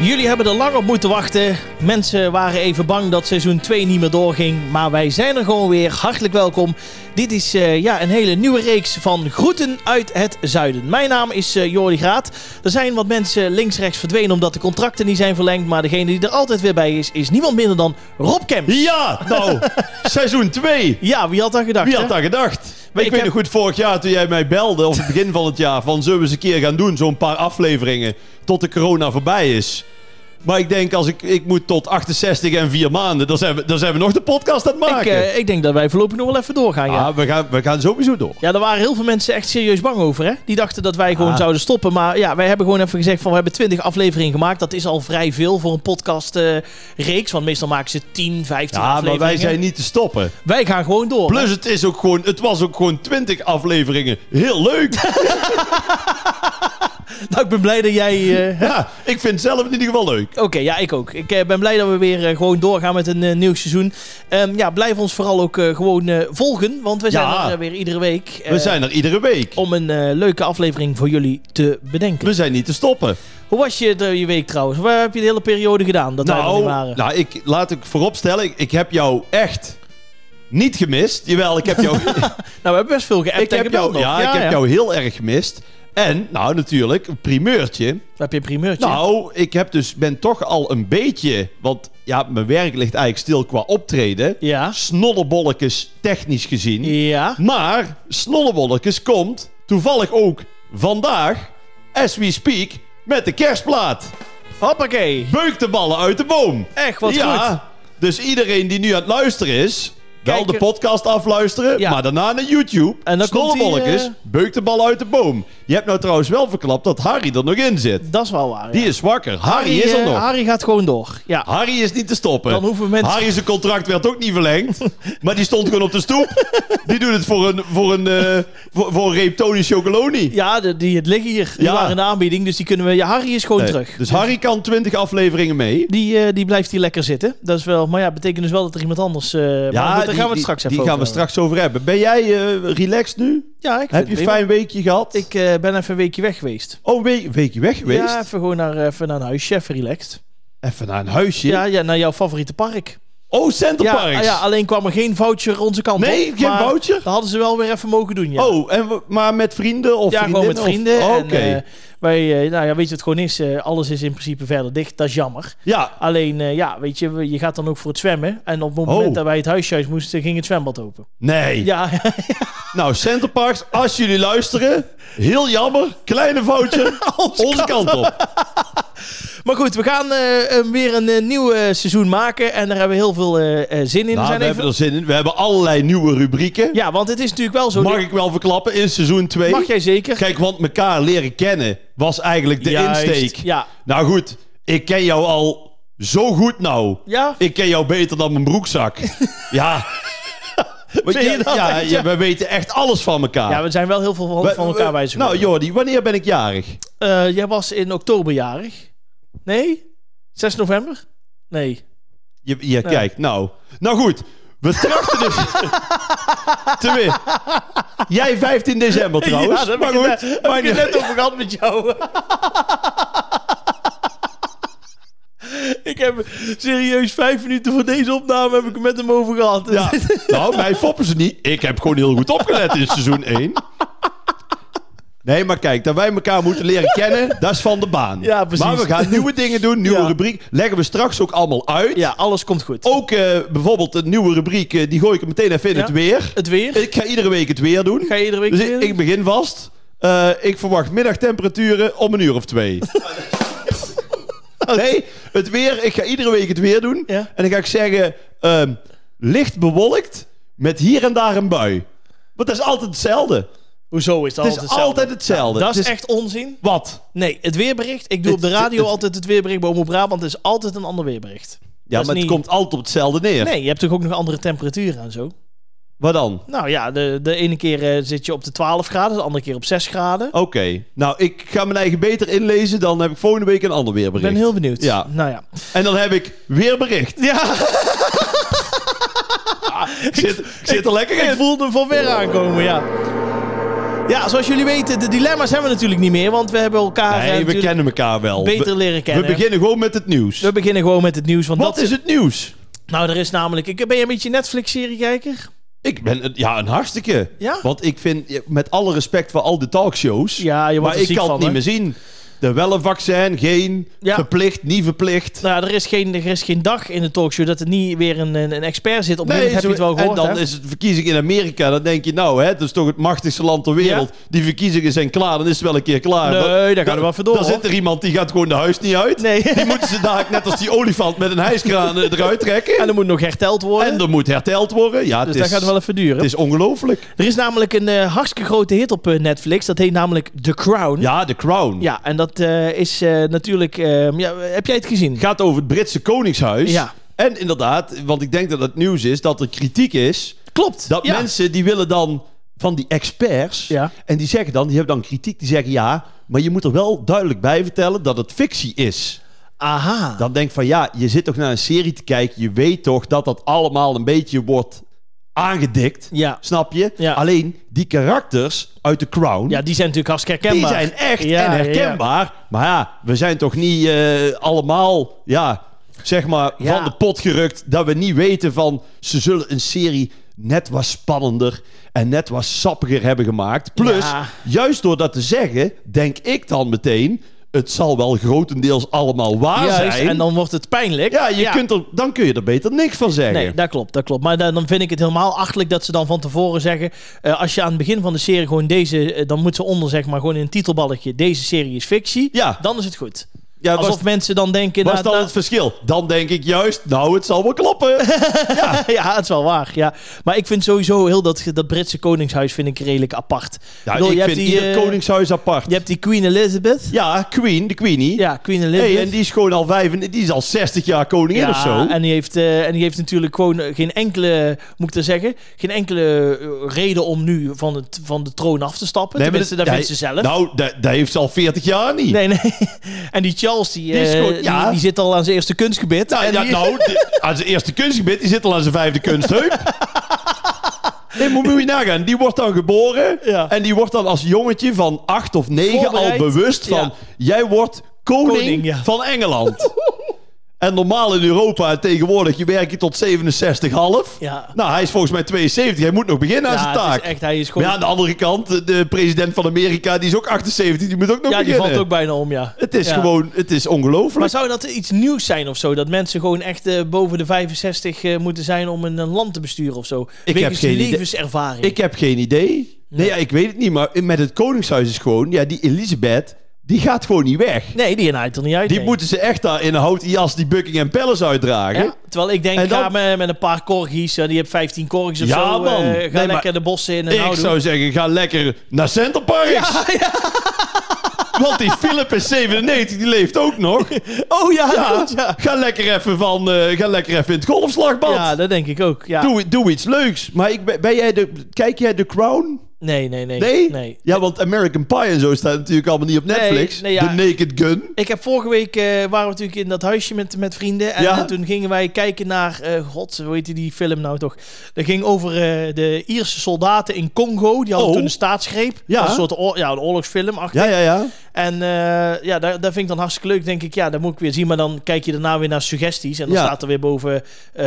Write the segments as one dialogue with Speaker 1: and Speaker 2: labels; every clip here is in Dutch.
Speaker 1: Jullie hebben er lang op moeten wachten. Mensen waren even bang dat seizoen 2 niet meer doorging. Maar wij zijn er gewoon weer. Hartelijk welkom. Dit is eh, ja, een hele nieuwe reeks van Groeten uit het Zuiden. Mijn naam is eh Jordi Graat. Er zijn wat mensen links-rechts verdwenen omdat de contracten niet zijn verlengd. Maar degene die er altijd weer bij is, is niemand minder dan Rob Kemp.
Speaker 2: Ja, nou, seizoen 2.
Speaker 1: Ja, wie had dat gedacht?
Speaker 2: Wie
Speaker 1: hè?
Speaker 2: had dat gedacht? Ik,
Speaker 1: Ik
Speaker 2: weet
Speaker 1: heb-
Speaker 2: nog goed, vorig jaar toen jij mij belde, of het begin van het jaar, van zullen we eens een keer gaan doen, zo'n paar afleveringen, tot de corona voorbij is. Maar ik denk, als ik, ik moet tot 68 en 4 maanden, dan zijn we, dan zijn we nog de podcast aan het
Speaker 1: Ik,
Speaker 2: maken.
Speaker 1: eh, ik denk dat wij voorlopig nog wel even doorgaan. Ja.
Speaker 2: ah, we, gaan, we gaan sowieso door.
Speaker 1: Ja, daar waren heel veel mensen echt serieus bang over. Hè? Die dachten dat wij gewoon
Speaker 2: Ah.
Speaker 1: zouden stoppen. Maar ja, wij hebben gewoon even gezegd van we hebben 20 afleveringen gemaakt. Dat is al vrij veel voor een podcast eh, reeks. Want meestal maken ze 10, 15
Speaker 2: Ja, maar
Speaker 1: afleveringen.
Speaker 2: wij zijn niet te stoppen.
Speaker 1: Wij gaan gewoon door.
Speaker 2: Plus, het, is ook gewoon, het was ook gewoon 20 afleveringen. Heel leuk.
Speaker 1: Nou, ik ben blij dat jij... eh,
Speaker 2: ja, ik vind het zelf in ieder geval leuk.
Speaker 1: Oké, ja, ik ook. Ik eh, ben blij dat we weer eh, gewoon doorgaan met een eh, nieuw seizoen. Ehm, ja, blijf ons vooral ook eh, gewoon eh, volgen. Want we zijn
Speaker 2: Ja.
Speaker 1: er eh, weer iedere week.
Speaker 2: We
Speaker 1: eh,
Speaker 2: zijn er iedere week.
Speaker 1: Om een eh, leuke aflevering voor jullie te bedenken.
Speaker 2: We zijn niet te stoppen.
Speaker 1: Hoe was je, de, je week trouwens? Waar heb je de hele periode gedaan dat wij er niet waren?
Speaker 2: nou ik, laat ik vooropstellen, ik, ik heb jou echt niet gemist. Jawel, ik heb jou,
Speaker 1: Nou, we hebben best veel geappt
Speaker 2: ik
Speaker 1: en
Speaker 2: heb
Speaker 1: gebeld
Speaker 2: jou,
Speaker 1: nog.
Speaker 2: ja, ik heb jou heel erg gemist. En, nou natuurlijk, een primeurtje.
Speaker 1: Dan heb je een primeurtje.
Speaker 2: Nou, ik heb dus, ben toch al een beetje, want ja, mijn werk ligt eigenlijk stil qua optreden.
Speaker 1: Ja.
Speaker 2: Snollebolletjes technisch gezien.
Speaker 1: Ja.
Speaker 2: Maar Snollebolletjes komt toevallig ook vandaag, as we speak, met de kerstplaat.
Speaker 1: Hoppakee.
Speaker 2: Beuk de ballen uit de boom.
Speaker 1: Echt, wat
Speaker 2: ja,
Speaker 1: goed.
Speaker 2: dus iedereen die nu aan het luisteren is, wel
Speaker 1: Kijk,
Speaker 2: de podcast afluisteren,
Speaker 1: ja.
Speaker 2: maar daarna naar YouTube.
Speaker 1: En dan komt die,
Speaker 2: Snollebolletjes,
Speaker 1: eh,
Speaker 2: beuk de ballen uit de boom. Je hebt nou trouwens wel verklapt dat Harry er nog in zit.
Speaker 1: Dat is wel waar.
Speaker 2: Die
Speaker 1: ja.
Speaker 2: is wakker. Harry, is er
Speaker 1: eh,
Speaker 2: nog.
Speaker 1: Harry gaat gewoon door. Ja.
Speaker 2: Harry is niet te stoppen.
Speaker 1: Dan hoeven mensen-
Speaker 2: Harry zijn contract werd ook niet verlengd. maar die stond gewoon op de stoep. Die doet het voor een, voor een, eh, voor, voor een reep Tony Chocoloni.
Speaker 1: Ja, de- die het liggen hier. Die
Speaker 2: Ja.
Speaker 1: waren in de aanbieding, dus die kunnen we... Ja, Harry is gewoon
Speaker 2: Nee,
Speaker 1: terug.
Speaker 2: Dus Harry kan 20 afleveringen mee.
Speaker 1: Die, eh, die blijft hier lekker zitten. Dat is wel... Maar ja, betekent dus wel dat er iemand anders... eh, maar goed, daar
Speaker 2: die-
Speaker 1: gaan we het
Speaker 2: die-
Speaker 1: straks
Speaker 2: die
Speaker 1: even
Speaker 2: gaan we
Speaker 1: over
Speaker 2: straks over hebben. Ben jij eh, relaxed nu?
Speaker 1: hebben. Ja, ik vind
Speaker 2: Heb je
Speaker 1: het
Speaker 2: een
Speaker 1: prima.
Speaker 2: fijn weekje gehad?
Speaker 1: Ik eh, ben even een weekje weg geweest.
Speaker 2: Oh, een week, weekje weg geweest?
Speaker 1: Ja, even gewoon naar, eh, even naar een huisje, even relaxed.
Speaker 2: Even naar een huisje.
Speaker 1: Ja, ja, naar jouw favoriete park.
Speaker 2: Oh, Centerparks.
Speaker 1: Ja, ja, alleen kwam er geen voucher onze kant op.
Speaker 2: nee, geen
Speaker 1: maar
Speaker 2: voucher?
Speaker 1: Dat hadden ze wel weer even mogen doen, ja.
Speaker 2: Oh, en, we- maar met vrienden of
Speaker 1: ja, gewoon met
Speaker 2: vriendinnen
Speaker 1: vrienden.
Speaker 2: of- Oh,
Speaker 1: En,
Speaker 2: Oké.
Speaker 1: eh, wij, eh, nou ja, weet je wat het gewoon is? Eh, alles is in principe verder dicht. Dat is jammer.
Speaker 2: ja,
Speaker 1: Alleen, eh, ja, weet je, we- je gaat dan ook voor het zwemmen. En op het moment
Speaker 2: Oh.
Speaker 1: dat wij het huisje uit moesten, ging het zwembad open.
Speaker 2: nee.
Speaker 1: Ja,
Speaker 2: Nou, Centerparks, als jullie luisteren, heel jammer, kleine foutje, onze kant op.
Speaker 1: maar goed, we gaan eh, eh, weer een eh, nieuw eh, seizoen maken. En daar hebben we heel veel eh, eh, zin in.
Speaker 2: Nou, we
Speaker 1: zijn
Speaker 2: hebben er zin in. We hebben allerlei nieuwe rubrieken.
Speaker 1: Ja, want het is natuurlijk wel zo.
Speaker 2: Mag ik wel verklappen in seizoen 2?
Speaker 1: Mag jij zeker?
Speaker 2: Kijk, want elkaar leren kennen was eigenlijk de
Speaker 1: Juist,
Speaker 2: insteek.
Speaker 1: Ja.
Speaker 2: Nou goed, ik ken jou al zo goed nou.
Speaker 1: Ja?
Speaker 2: Ik ken jou beter dan mijn broekzak. ja. Want
Speaker 1: Vind je
Speaker 2: ja,
Speaker 1: dat
Speaker 2: ja,
Speaker 1: echt,
Speaker 2: ja,
Speaker 1: ja?
Speaker 2: we weten echt alles van elkaar.
Speaker 1: ja, we zijn wel heel veel van,
Speaker 2: We-
Speaker 1: van elkaar
Speaker 2: we-
Speaker 1: wijs.
Speaker 2: Nou Jordi, wanneer ben ik jarig?
Speaker 1: Eh, jij was in oktober jarig. Nee? 6 november? Nee.
Speaker 2: Je, ja, kijk, nou. Nou goed, we trachten dus... te weer. Jij 15 december trouwens.
Speaker 1: Ja, dat heb
Speaker 2: maar
Speaker 1: ik
Speaker 2: goed.
Speaker 1: het net-
Speaker 2: maar
Speaker 1: heb ik het net over gehad met jou. ik heb serieus vijf minuten voor deze opname heb ik het met hem over gehad.
Speaker 2: ja. Nou, mij foppen ze niet. Ik heb gewoon heel goed opgelet in seizoen 1. Nee, maar kijk, dat wij elkaar moeten leren kennen, dat is van de baan.
Speaker 1: Ja, precies.
Speaker 2: Maar we gaan nieuwe dingen doen, nieuwe
Speaker 1: Ja.
Speaker 2: rubriek. Leggen we straks ook allemaal uit.
Speaker 1: Ja, alles komt goed.
Speaker 2: Ook eh, bijvoorbeeld een nieuwe rubriek, eh, die gooi ik er meteen even in
Speaker 1: Ja.
Speaker 2: het weer.
Speaker 1: Het weer.
Speaker 2: Ik ga iedere week het weer doen.
Speaker 1: Ga je iedere week
Speaker 2: Dus
Speaker 1: weer
Speaker 2: ik,
Speaker 1: doen?
Speaker 2: ik begin vast. Eh, ik verwacht middagtemperaturen om een uur of twee. nee, het weer. Ik ga iedere week het weer doen.
Speaker 1: Ja.
Speaker 2: En dan ga ik zeggen: ehm, licht bewolkt met hier en daar een bui. Want dat is altijd hetzelfde.
Speaker 1: Hoezo is dat
Speaker 2: het is altijd hetzelfde.
Speaker 1: Dat is
Speaker 2: Het is-
Speaker 1: echt onzin.
Speaker 2: Wat?
Speaker 1: Nee, het weerbericht. Ik doe op de
Speaker 2: Het-
Speaker 1: radio
Speaker 2: het-
Speaker 1: altijd het weerbericht bij Omroep Brabant. Het is altijd een ander weerbericht.
Speaker 2: Ja,
Speaker 1: is
Speaker 2: maar
Speaker 1: niet-
Speaker 2: het komt altijd op hetzelfde neer.
Speaker 1: Nee, je hebt toch ook nog andere temperaturen en zo.
Speaker 2: Wat dan?
Speaker 1: Nou ja, de, de ene keer eh, zit je op de 12 graden, de andere keer op 6 graden.
Speaker 2: Oké. Nou, ik ga mijn eigen beter inlezen. Dan heb ik volgende week een ander
Speaker 1: Ik
Speaker 2: weerbericht.
Speaker 1: ben heel benieuwd.
Speaker 2: Ja.
Speaker 1: Nou ja.
Speaker 2: En dan heb ik weer bericht.
Speaker 1: Ja.
Speaker 2: Ik zit, ik zit er lekker in.
Speaker 1: Ik voelde hem van ver aankomen, ja. Ja, zoals jullie weten, de dilemma's hebben we natuurlijk niet meer. Want we hebben elkaar eh,
Speaker 2: Nee, we
Speaker 1: natuurlijk
Speaker 2: kennen elkaar wel.
Speaker 1: beter
Speaker 2: We-
Speaker 1: leren
Speaker 2: we
Speaker 1: kennen.
Speaker 2: beginnen gewoon met het nieuws.
Speaker 1: We beginnen gewoon met het nieuws. Want
Speaker 2: Wat
Speaker 1: dat
Speaker 2: is het nieuws?
Speaker 1: Nou, er is namelijk... Ik, ben je een beetje Netflix-seriekijker?
Speaker 2: Ik ben een- ja, een hartstikke.
Speaker 1: Ja?
Speaker 2: Want ik vind, ja, met alle respect voor al de talkshows,
Speaker 1: Ja, je wordt
Speaker 2: maar
Speaker 1: er
Speaker 2: ik
Speaker 1: ziek
Speaker 2: kan
Speaker 1: van,
Speaker 2: het niet
Speaker 1: hè?
Speaker 2: meer zien. Er wel een vaccin, geen,
Speaker 1: Ja.
Speaker 2: verplicht, niet verplicht.
Speaker 1: Nou, er is, geen, er is geen dag in de talkshow dat er niet weer een, een, een expert zit. Op een gegeven moment heb je
Speaker 2: zo-
Speaker 1: het wel gehoord,
Speaker 2: en dan
Speaker 1: hè?
Speaker 2: is het verkiezing in Amerika. Dan denk je, nou, hè, dat is toch het machtigste land ter wereld. Die verkiezingen zijn klaar, dan is het wel een keer klaar.
Speaker 1: Nee,
Speaker 2: Maar-
Speaker 1: daar kan er wel voor door,
Speaker 2: Dan
Speaker 1: hoor.
Speaker 2: zit er iemand die gaat gewoon de huis niet uit.
Speaker 1: Nee,
Speaker 2: Die moeten ze daar net als die olifant met een hijskraan eh, eruit trekken.
Speaker 1: en er moet nog herteld worden.
Speaker 2: En er moet herteld worden. Ja,
Speaker 1: dus
Speaker 2: het,
Speaker 1: dat
Speaker 2: is,
Speaker 1: gaat wel even duren.
Speaker 2: het is ongelooflijk.
Speaker 1: Er is namelijk een eh, hartstikke grote hit op eh, Netflix. Dat heet namelijk The Crown.
Speaker 2: Ja, de crown.
Speaker 1: Hm? Ja, en dat eh, is eh, natuurlijk... eh, ja, heb jij het gezien?
Speaker 2: gaat over het Britse Koningshuis.
Speaker 1: Ja.
Speaker 2: En inderdaad, want ik denk dat het nieuws is dat er kritiek is.
Speaker 1: Klopt.
Speaker 2: Dat
Speaker 1: ja.
Speaker 2: mensen die willen dan van die experts.
Speaker 1: Ja.
Speaker 2: En die zeggen dan, die hebben dan kritiek. Die zeggen ja, maar je moet er wel duidelijk bij vertellen dat het fictie is.
Speaker 1: Aha.
Speaker 2: Dan denk ik van ja, je zit toch naar een serie te kijken. Je weet toch dat dat allemaal een beetje wordt aangedikt.
Speaker 1: Ja.
Speaker 2: Snap je?
Speaker 1: Ja.
Speaker 2: Alleen die karakters uit de Crown.
Speaker 1: ja, die zijn natuurlijk hartstikke
Speaker 2: Die
Speaker 1: herkenbaar.
Speaker 2: zijn echt
Speaker 1: Ja,
Speaker 2: en
Speaker 1: ja, ja.
Speaker 2: herkenbaar. Maar ja, we zijn toch niet eh, allemaal, ja, zeg maar,
Speaker 1: Ja.
Speaker 2: van de pot gerukt. Dat we niet weten van, ze zullen een serie net wat spannender en net wat sappiger hebben gemaakt. Plus,
Speaker 1: Ja.
Speaker 2: juist door dat te zeggen, denk ik dan meteen, het zal wel grotendeels allemaal waar
Speaker 1: Juist,
Speaker 2: zijn.
Speaker 1: en dan wordt het pijnlijk.
Speaker 2: ja, je Kunt er, dan kun je er beter niks van zeggen.
Speaker 1: Nee, dat klopt, dat klopt. Maar dan, dan vind ik het helemaal achterlijk dat ze dan van tevoren zeggen... eh, als je aan het begin van de serie gewoon deze... eh, dan moet ze onder, zeg maar, gewoon in een titelballetje... deze serie is fictie,
Speaker 2: Ja.
Speaker 1: dan is het goed.
Speaker 2: ja, was,
Speaker 1: Alsof mensen dan denken...
Speaker 2: was
Speaker 1: na-
Speaker 2: dan
Speaker 1: na-
Speaker 2: het verschil? Dan denk ik juist, nou, het zal wel kloppen.
Speaker 1: ja, het is wel waar, ja. Maar ik vind sowieso heel dat, dat Britse koningshuis vind ik redelijk apart.
Speaker 2: Ja,
Speaker 1: bedoel,
Speaker 2: ik
Speaker 1: je
Speaker 2: vind
Speaker 1: hebt die,
Speaker 2: ieder
Speaker 1: eh,
Speaker 2: koningshuis apart.
Speaker 1: Je hebt die Queen Elizabeth.
Speaker 2: Ja, Queen, de Queenie.
Speaker 1: Ja, Queen Elizabeth.
Speaker 2: Hey, en die is gewoon al vijf, die is al 60 jaar koningin
Speaker 1: ja,
Speaker 2: of zo.
Speaker 1: En die, heeft, eh, en die heeft natuurlijk gewoon eh, geen enkele, moet ik dat zeggen, geen enkele eh, reden om nu van, het, van de troon af te stappen.
Speaker 2: Nee, maar
Speaker 1: Tenminste, dat,
Speaker 2: ja,
Speaker 1: vindt ze zelf.
Speaker 2: Nou, dat dat heeft ze al 40 jaar niet.
Speaker 1: Nee, nee. En die Charles, die,
Speaker 2: Die is
Speaker 1: eh,
Speaker 2: goed,
Speaker 1: die,
Speaker 2: ja.
Speaker 1: die zit al aan zijn eerste kunstgebied.
Speaker 2: nou,
Speaker 1: en
Speaker 2: ja,
Speaker 1: die-
Speaker 2: nou de- aan zijn eerste kunstgebied, die zit al aan zijn vijfde kunstheup. Nee, moet moet je nagaan. Die wordt dan geboren
Speaker 1: Ja.
Speaker 2: en die wordt dan als jongetje van acht of negen al
Speaker 1: Voorbereid.
Speaker 2: bewust van...
Speaker 1: Ja.
Speaker 2: Jij wordt koning,
Speaker 1: Koning, ja.
Speaker 2: van Engeland. en normaal in Europa tegenwoordig, je werkt je tot 67,5.
Speaker 1: Ja.
Speaker 2: Nou, hij is volgens mij 72. Hij moet nog beginnen aan
Speaker 1: ja,
Speaker 2: zijn
Speaker 1: het is
Speaker 2: taak.
Speaker 1: echt, hij is
Speaker 2: Maar
Speaker 1: gewoon...
Speaker 2: ja, aan de andere kant, de president van Amerika, die is ook 78, die moet ook nog
Speaker 1: ja, die
Speaker 2: beginnen.
Speaker 1: valt ook bijna om, ja.
Speaker 2: Het is
Speaker 1: Ja.
Speaker 2: gewoon, het is
Speaker 1: Maar
Speaker 2: ongelooflijk.
Speaker 1: zou dat iets nieuws zijn of zo? Dat mensen gewoon echt eh, boven de 65 eh, moeten zijn om een, een land te besturen of zo?
Speaker 2: heb
Speaker 1: Wegens
Speaker 2: geen idee.
Speaker 1: levenservaring.
Speaker 2: Ik heb geen idee. Nee, ja, ik weet het niet, maar met het Koningshuis is gewoon, ja, die Elisabeth, die gaat gewoon niet weg.
Speaker 1: Nee, die haalt er niet uit.
Speaker 2: Die
Speaker 1: nee.
Speaker 2: moeten ze echt daar in een houten jas die Buckingham Palace uitdragen.
Speaker 1: Ja, terwijl ik denk,
Speaker 2: En dan-
Speaker 1: ga me met een paar corgis, eh, die hebt 15 corgis of
Speaker 2: Ja,
Speaker 1: zo, eh,
Speaker 2: man.
Speaker 1: ga
Speaker 2: Nee, maar-
Speaker 1: lekker de bossen in en
Speaker 2: Ik
Speaker 1: nou doen.
Speaker 2: zou zeggen, ga lekker naar Center Parks. Want die Philip is 97, die leeft ook nog.
Speaker 1: Oh ja,
Speaker 2: Ja,
Speaker 1: goed, ja.
Speaker 2: Ga, lekker even van, eh, ga lekker even in het golfslagbad.
Speaker 1: Ja, dat denk ik ook. Ja.
Speaker 2: Doe, doe iets leuks. Maar ik, ben ben jij de, kijk jij The Crown?
Speaker 1: Nee, nee, nee.
Speaker 2: Nee?
Speaker 1: nee.
Speaker 2: Ja, want American Pie en zo staat natuurlijk allemaal niet op Netflix.
Speaker 1: nee, ja.
Speaker 2: The Naked Gun.
Speaker 1: Ik heb vorige week eh, waren we natuurlijk in dat huisje met, met vrienden. En
Speaker 2: Ja.
Speaker 1: eh, toen gingen wij kijken naar. eh, God, hoe heet die film nou toch? Dat ging over eh, de Ierse soldaten in Congo. Die hadden
Speaker 2: Oh.
Speaker 1: toen een staatsgreep.
Speaker 2: Ja.
Speaker 1: Dat was Een soort oor- ja, een oorlogsfilm. achter.
Speaker 2: Ja, ja, ja.
Speaker 1: En eh, ja, daar, daar vind ik dan hartstikke leuk. Denk ik, ja, dat moet ik weer zien. Maar dan kijk je daarna weer naar suggesties. En dan
Speaker 2: Ja.
Speaker 1: staat er weer boven ehm,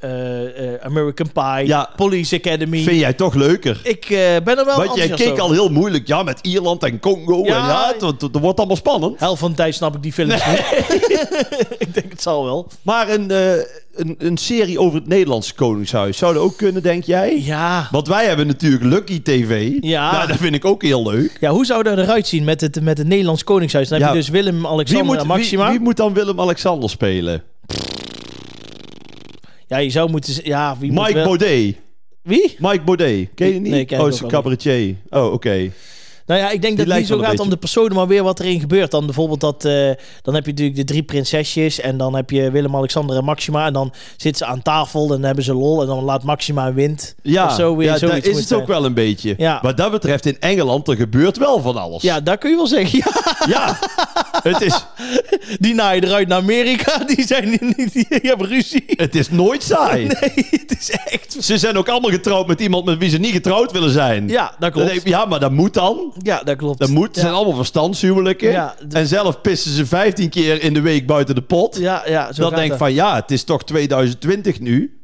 Speaker 1: eh, eh, American Pie,
Speaker 2: Ja.
Speaker 1: Police Academy.
Speaker 2: Vind jij toch leuker?
Speaker 1: ik eh, ben er wel
Speaker 2: Want jij
Speaker 1: enthousiast
Speaker 2: keek
Speaker 1: over.
Speaker 2: al heel moeilijk. Ja, met Ierland en Congo.
Speaker 1: Ja.
Speaker 2: En ja, het, het- het wordt allemaal spannend.
Speaker 1: Helft van de tijd snap ik die films niet. ik denk, het zal wel.
Speaker 2: Maar een, eh, een, een serie over het Nederlandse Koningshuis zou dat ook kunnen, denk jij?
Speaker 1: Ja,
Speaker 2: Want wij hebben natuurlijk Lucky TV.
Speaker 1: Ja.
Speaker 2: Nou, dat vind ik ook heel leuk.
Speaker 1: Ja, hoe zou dat eruit zien met het, met het Nederlands Koningshuis? Dan heb
Speaker 2: Ja.
Speaker 1: je dus Willem,
Speaker 2: Wie
Speaker 1: Alexander
Speaker 2: moet,
Speaker 1: en
Speaker 2: wie,
Speaker 1: Maxima.
Speaker 2: wie moet dan Willem-Alexander spelen?
Speaker 1: Ja, je zou moeten... z- Ja, wie moet
Speaker 2: Mike
Speaker 1: wel-
Speaker 2: Baudet.
Speaker 1: Wie?
Speaker 2: Mike Baudet. Ken je die niet?
Speaker 1: Nee, ken ik
Speaker 2: oh,
Speaker 1: ook
Speaker 2: is een
Speaker 1: wel niet.
Speaker 2: cabaretier. Oh, oké.
Speaker 1: Nou ja, ik denk dat het
Speaker 2: lijkt
Speaker 1: niet zo
Speaker 2: wel een
Speaker 1: gaat om
Speaker 2: beetje.
Speaker 1: de personen, maar weer wat erin gebeurt. Dan bijvoorbeeld dat, eh, dan heb je natuurlijk de drie prinsesjes en dan heb je Willem, Alexander en Maxima. En dan zitten ze aan tafel en dan hebben ze lol en dan laat Maxima een wind.
Speaker 2: Ja,
Speaker 1: Of zo weer
Speaker 2: ja
Speaker 1: zoiets
Speaker 2: daar is
Speaker 1: moet
Speaker 2: het
Speaker 1: zijn.
Speaker 2: ook wel een beetje.
Speaker 1: Ja.
Speaker 2: Wat dat betreft, in Engeland, er gebeurt wel van alles.
Speaker 1: Ja, daar kun je wel zeggen. Ja,
Speaker 2: Ja. het, is,
Speaker 1: die naaien eruit naar Amerika. Die, zijn, die, die hebben ruzie.
Speaker 2: het is nooit saai.
Speaker 1: Nee, het is echt...
Speaker 2: Ze zijn ook allemaal getrouwd met iemand met wie ze niet getrouwd willen zijn.
Speaker 1: Ja, dat
Speaker 2: Dan
Speaker 1: klopt.
Speaker 2: denk ik, ja maar dat moet dan.
Speaker 1: Ja, dat klopt.
Speaker 2: Dat moet. Het
Speaker 1: Ja.
Speaker 2: zijn allemaal verstandshuwelijken.
Speaker 1: Ja, d-
Speaker 2: En zelf pissen ze 15 keer in de week buiten de pot.
Speaker 1: Ja, ja, zo
Speaker 2: dan
Speaker 1: gaat
Speaker 2: denk
Speaker 1: dat.
Speaker 2: ik van ja, het is toch 2020 nu.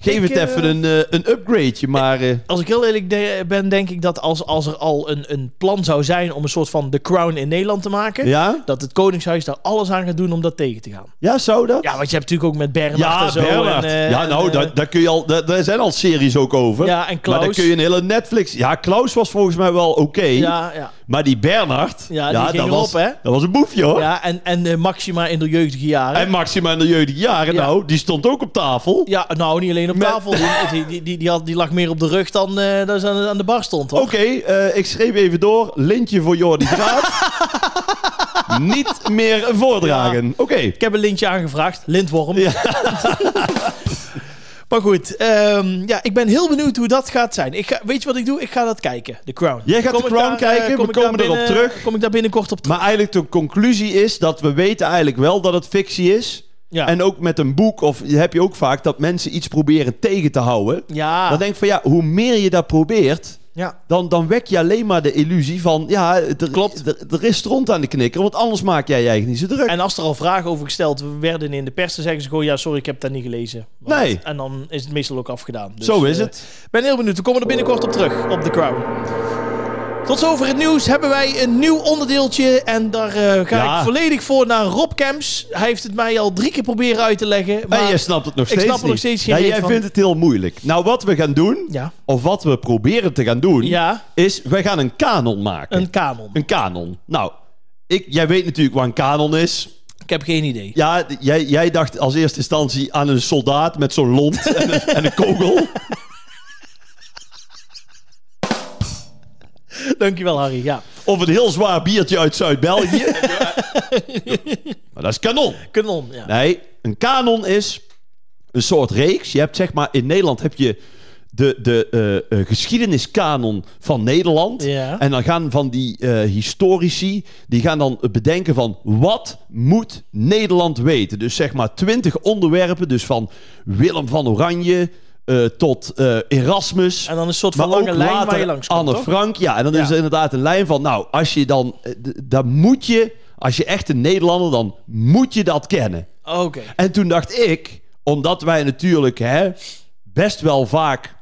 Speaker 2: Geef
Speaker 1: Ik,
Speaker 2: het
Speaker 1: eh,
Speaker 2: even een, eh, een upgradeje, maar... eh,
Speaker 1: Als ik heel eerlijk de- ben, denk ik dat als, als er al een, een plan zou zijn om een soort van The Crown in Nederland te maken,
Speaker 2: ja?
Speaker 1: dat het Koningshuis daar alles aan gaat doen om dat tegen te gaan.
Speaker 2: Ja, zou dat?
Speaker 1: Ja, want je hebt natuurlijk ook met Bernhard en zo.
Speaker 2: Bernard.
Speaker 1: En, eh,
Speaker 2: ja,
Speaker 1: en,
Speaker 2: nou,
Speaker 1: eh,
Speaker 2: daar, daar, kun je al, daar, daar zijn al series ook over.
Speaker 1: Ja, en Klaus.
Speaker 2: Maar dan kun je een hele Netflix... Ja, Klaus was volgens mij wel oké.
Speaker 1: ja, ja.
Speaker 2: Maar die Bernard...
Speaker 1: Ja, die ging
Speaker 2: dat, was,
Speaker 1: erop, hè?
Speaker 2: dat was een boefje, hoor.
Speaker 1: ja, en, en eh, Maxima in de jeugdige jaren.
Speaker 2: En Maxima in de jeugdige jaren,
Speaker 1: Ja.
Speaker 2: nou, die stond ook op tafel.
Speaker 1: ja, nou, niet alleen op
Speaker 2: Met-
Speaker 1: tafel. Die, die, die, die, die had, die lag meer op de rug dan eh dat ze aan, aan de bar stond. Hoor.
Speaker 2: Oké, eh, ik schreef even door. Lintje voor Jordi Graat. Niet meer voordragen. Oké.
Speaker 1: Ik heb een lintje aangevraagd. Lintworm. maar goed, ehm, ja, ik ben heel benieuwd hoe dat gaat zijn. Ik ga, weet je wat ik doe? Ik ga dat kijken, The Crown.
Speaker 2: Jij gaat
Speaker 1: Kom
Speaker 2: The
Speaker 1: ik
Speaker 2: Crown
Speaker 1: daar,
Speaker 2: kijken,
Speaker 1: eh, kom
Speaker 2: we
Speaker 1: ik daar
Speaker 2: komen erop
Speaker 1: binnen-
Speaker 2: terug.
Speaker 1: Kom ik daar binnenkort op terug?
Speaker 2: Maar eigenlijk de conclusie is dat we weten eigenlijk wel dat het fictie is.
Speaker 1: Ja.
Speaker 2: En ook met een boek of heb je ook vaak dat mensen iets proberen tegen te houden.
Speaker 1: ja.
Speaker 2: Dan denk ik van ja, hoe meer je dat probeert,
Speaker 1: ja.
Speaker 2: dan, dan wek je alleen maar de illusie van ja, er,
Speaker 1: Klopt.
Speaker 2: Er, er is rond aan de knikker, want anders maak jij je eigenlijk niet zo druk.
Speaker 1: En als er al vragen over gesteld werden in de pers, dan zeggen ze gewoon... ja, sorry, ik heb dat niet gelezen. Want-
Speaker 2: Nee.
Speaker 1: En dan is het meestal ook afgedaan. Dus,
Speaker 2: zo is
Speaker 1: eh,
Speaker 2: het.
Speaker 1: Ik ben heel benieuwd. We komen er binnenkort op terug, op The Crown. Tot zover het nieuws. Hebben wij een nieuw onderdeeltje. En daar eh, ga
Speaker 2: Ja.
Speaker 1: ik volledig voor naar Rob Kemps. Hij heeft het mij al drie keer proberen uit te leggen. Maar
Speaker 2: en jij snapt het nog
Speaker 1: ik
Speaker 2: steeds
Speaker 1: snap er nog
Speaker 2: niet.
Speaker 1: steeds geen
Speaker 2: Ja,
Speaker 1: reet
Speaker 2: Jij
Speaker 1: van.
Speaker 2: vindt het heel moeilijk. Nou, wat we gaan doen,
Speaker 1: Ja.
Speaker 2: of wat we proberen te gaan doen,
Speaker 1: Ja,
Speaker 2: is wij gaan een kanon maken.
Speaker 1: een kanon.
Speaker 2: Een kanon. Nou, ik, jij weet natuurlijk wat een kanon is.
Speaker 1: Ik heb geen idee.
Speaker 2: Ja, d- jij, jij dacht als eerste instantie aan een soldaat met zo'n lont en een, en een kogel.
Speaker 1: Dankjewel, Harry. Ja.
Speaker 2: Of een heel zwaar biertje uit Zuid-België. maar dat is kanon.
Speaker 1: Kanon, ja.
Speaker 2: Nee, een kanon is een soort reeks. Je hebt zeg maar, in Nederland heb je de, de eh, eh, geschiedeniskanon van Nederland.
Speaker 1: Ja.
Speaker 2: En dan gaan van die eh, historici, die gaan dan bedenken van wat moet Nederland weten? Dus zeg maar twintig onderwerpen, dus van Willem van Oranje eh, tot eh, Erasmus.
Speaker 1: En dan een soort
Speaker 2: Maar
Speaker 1: van
Speaker 2: ook
Speaker 1: lange lijn waar
Speaker 2: later
Speaker 1: je langs komt,
Speaker 2: Anne
Speaker 1: toch?
Speaker 2: Frank, ja. En dan
Speaker 1: Ja.
Speaker 2: is er inderdaad een lijn van, nou, als je dan, eh, d- dan moet je, als je echt een Nederlander, dan moet je dat kennen.
Speaker 1: Oké.
Speaker 2: En toen dacht ik, omdat wij natuurlijk hè, best wel vaak,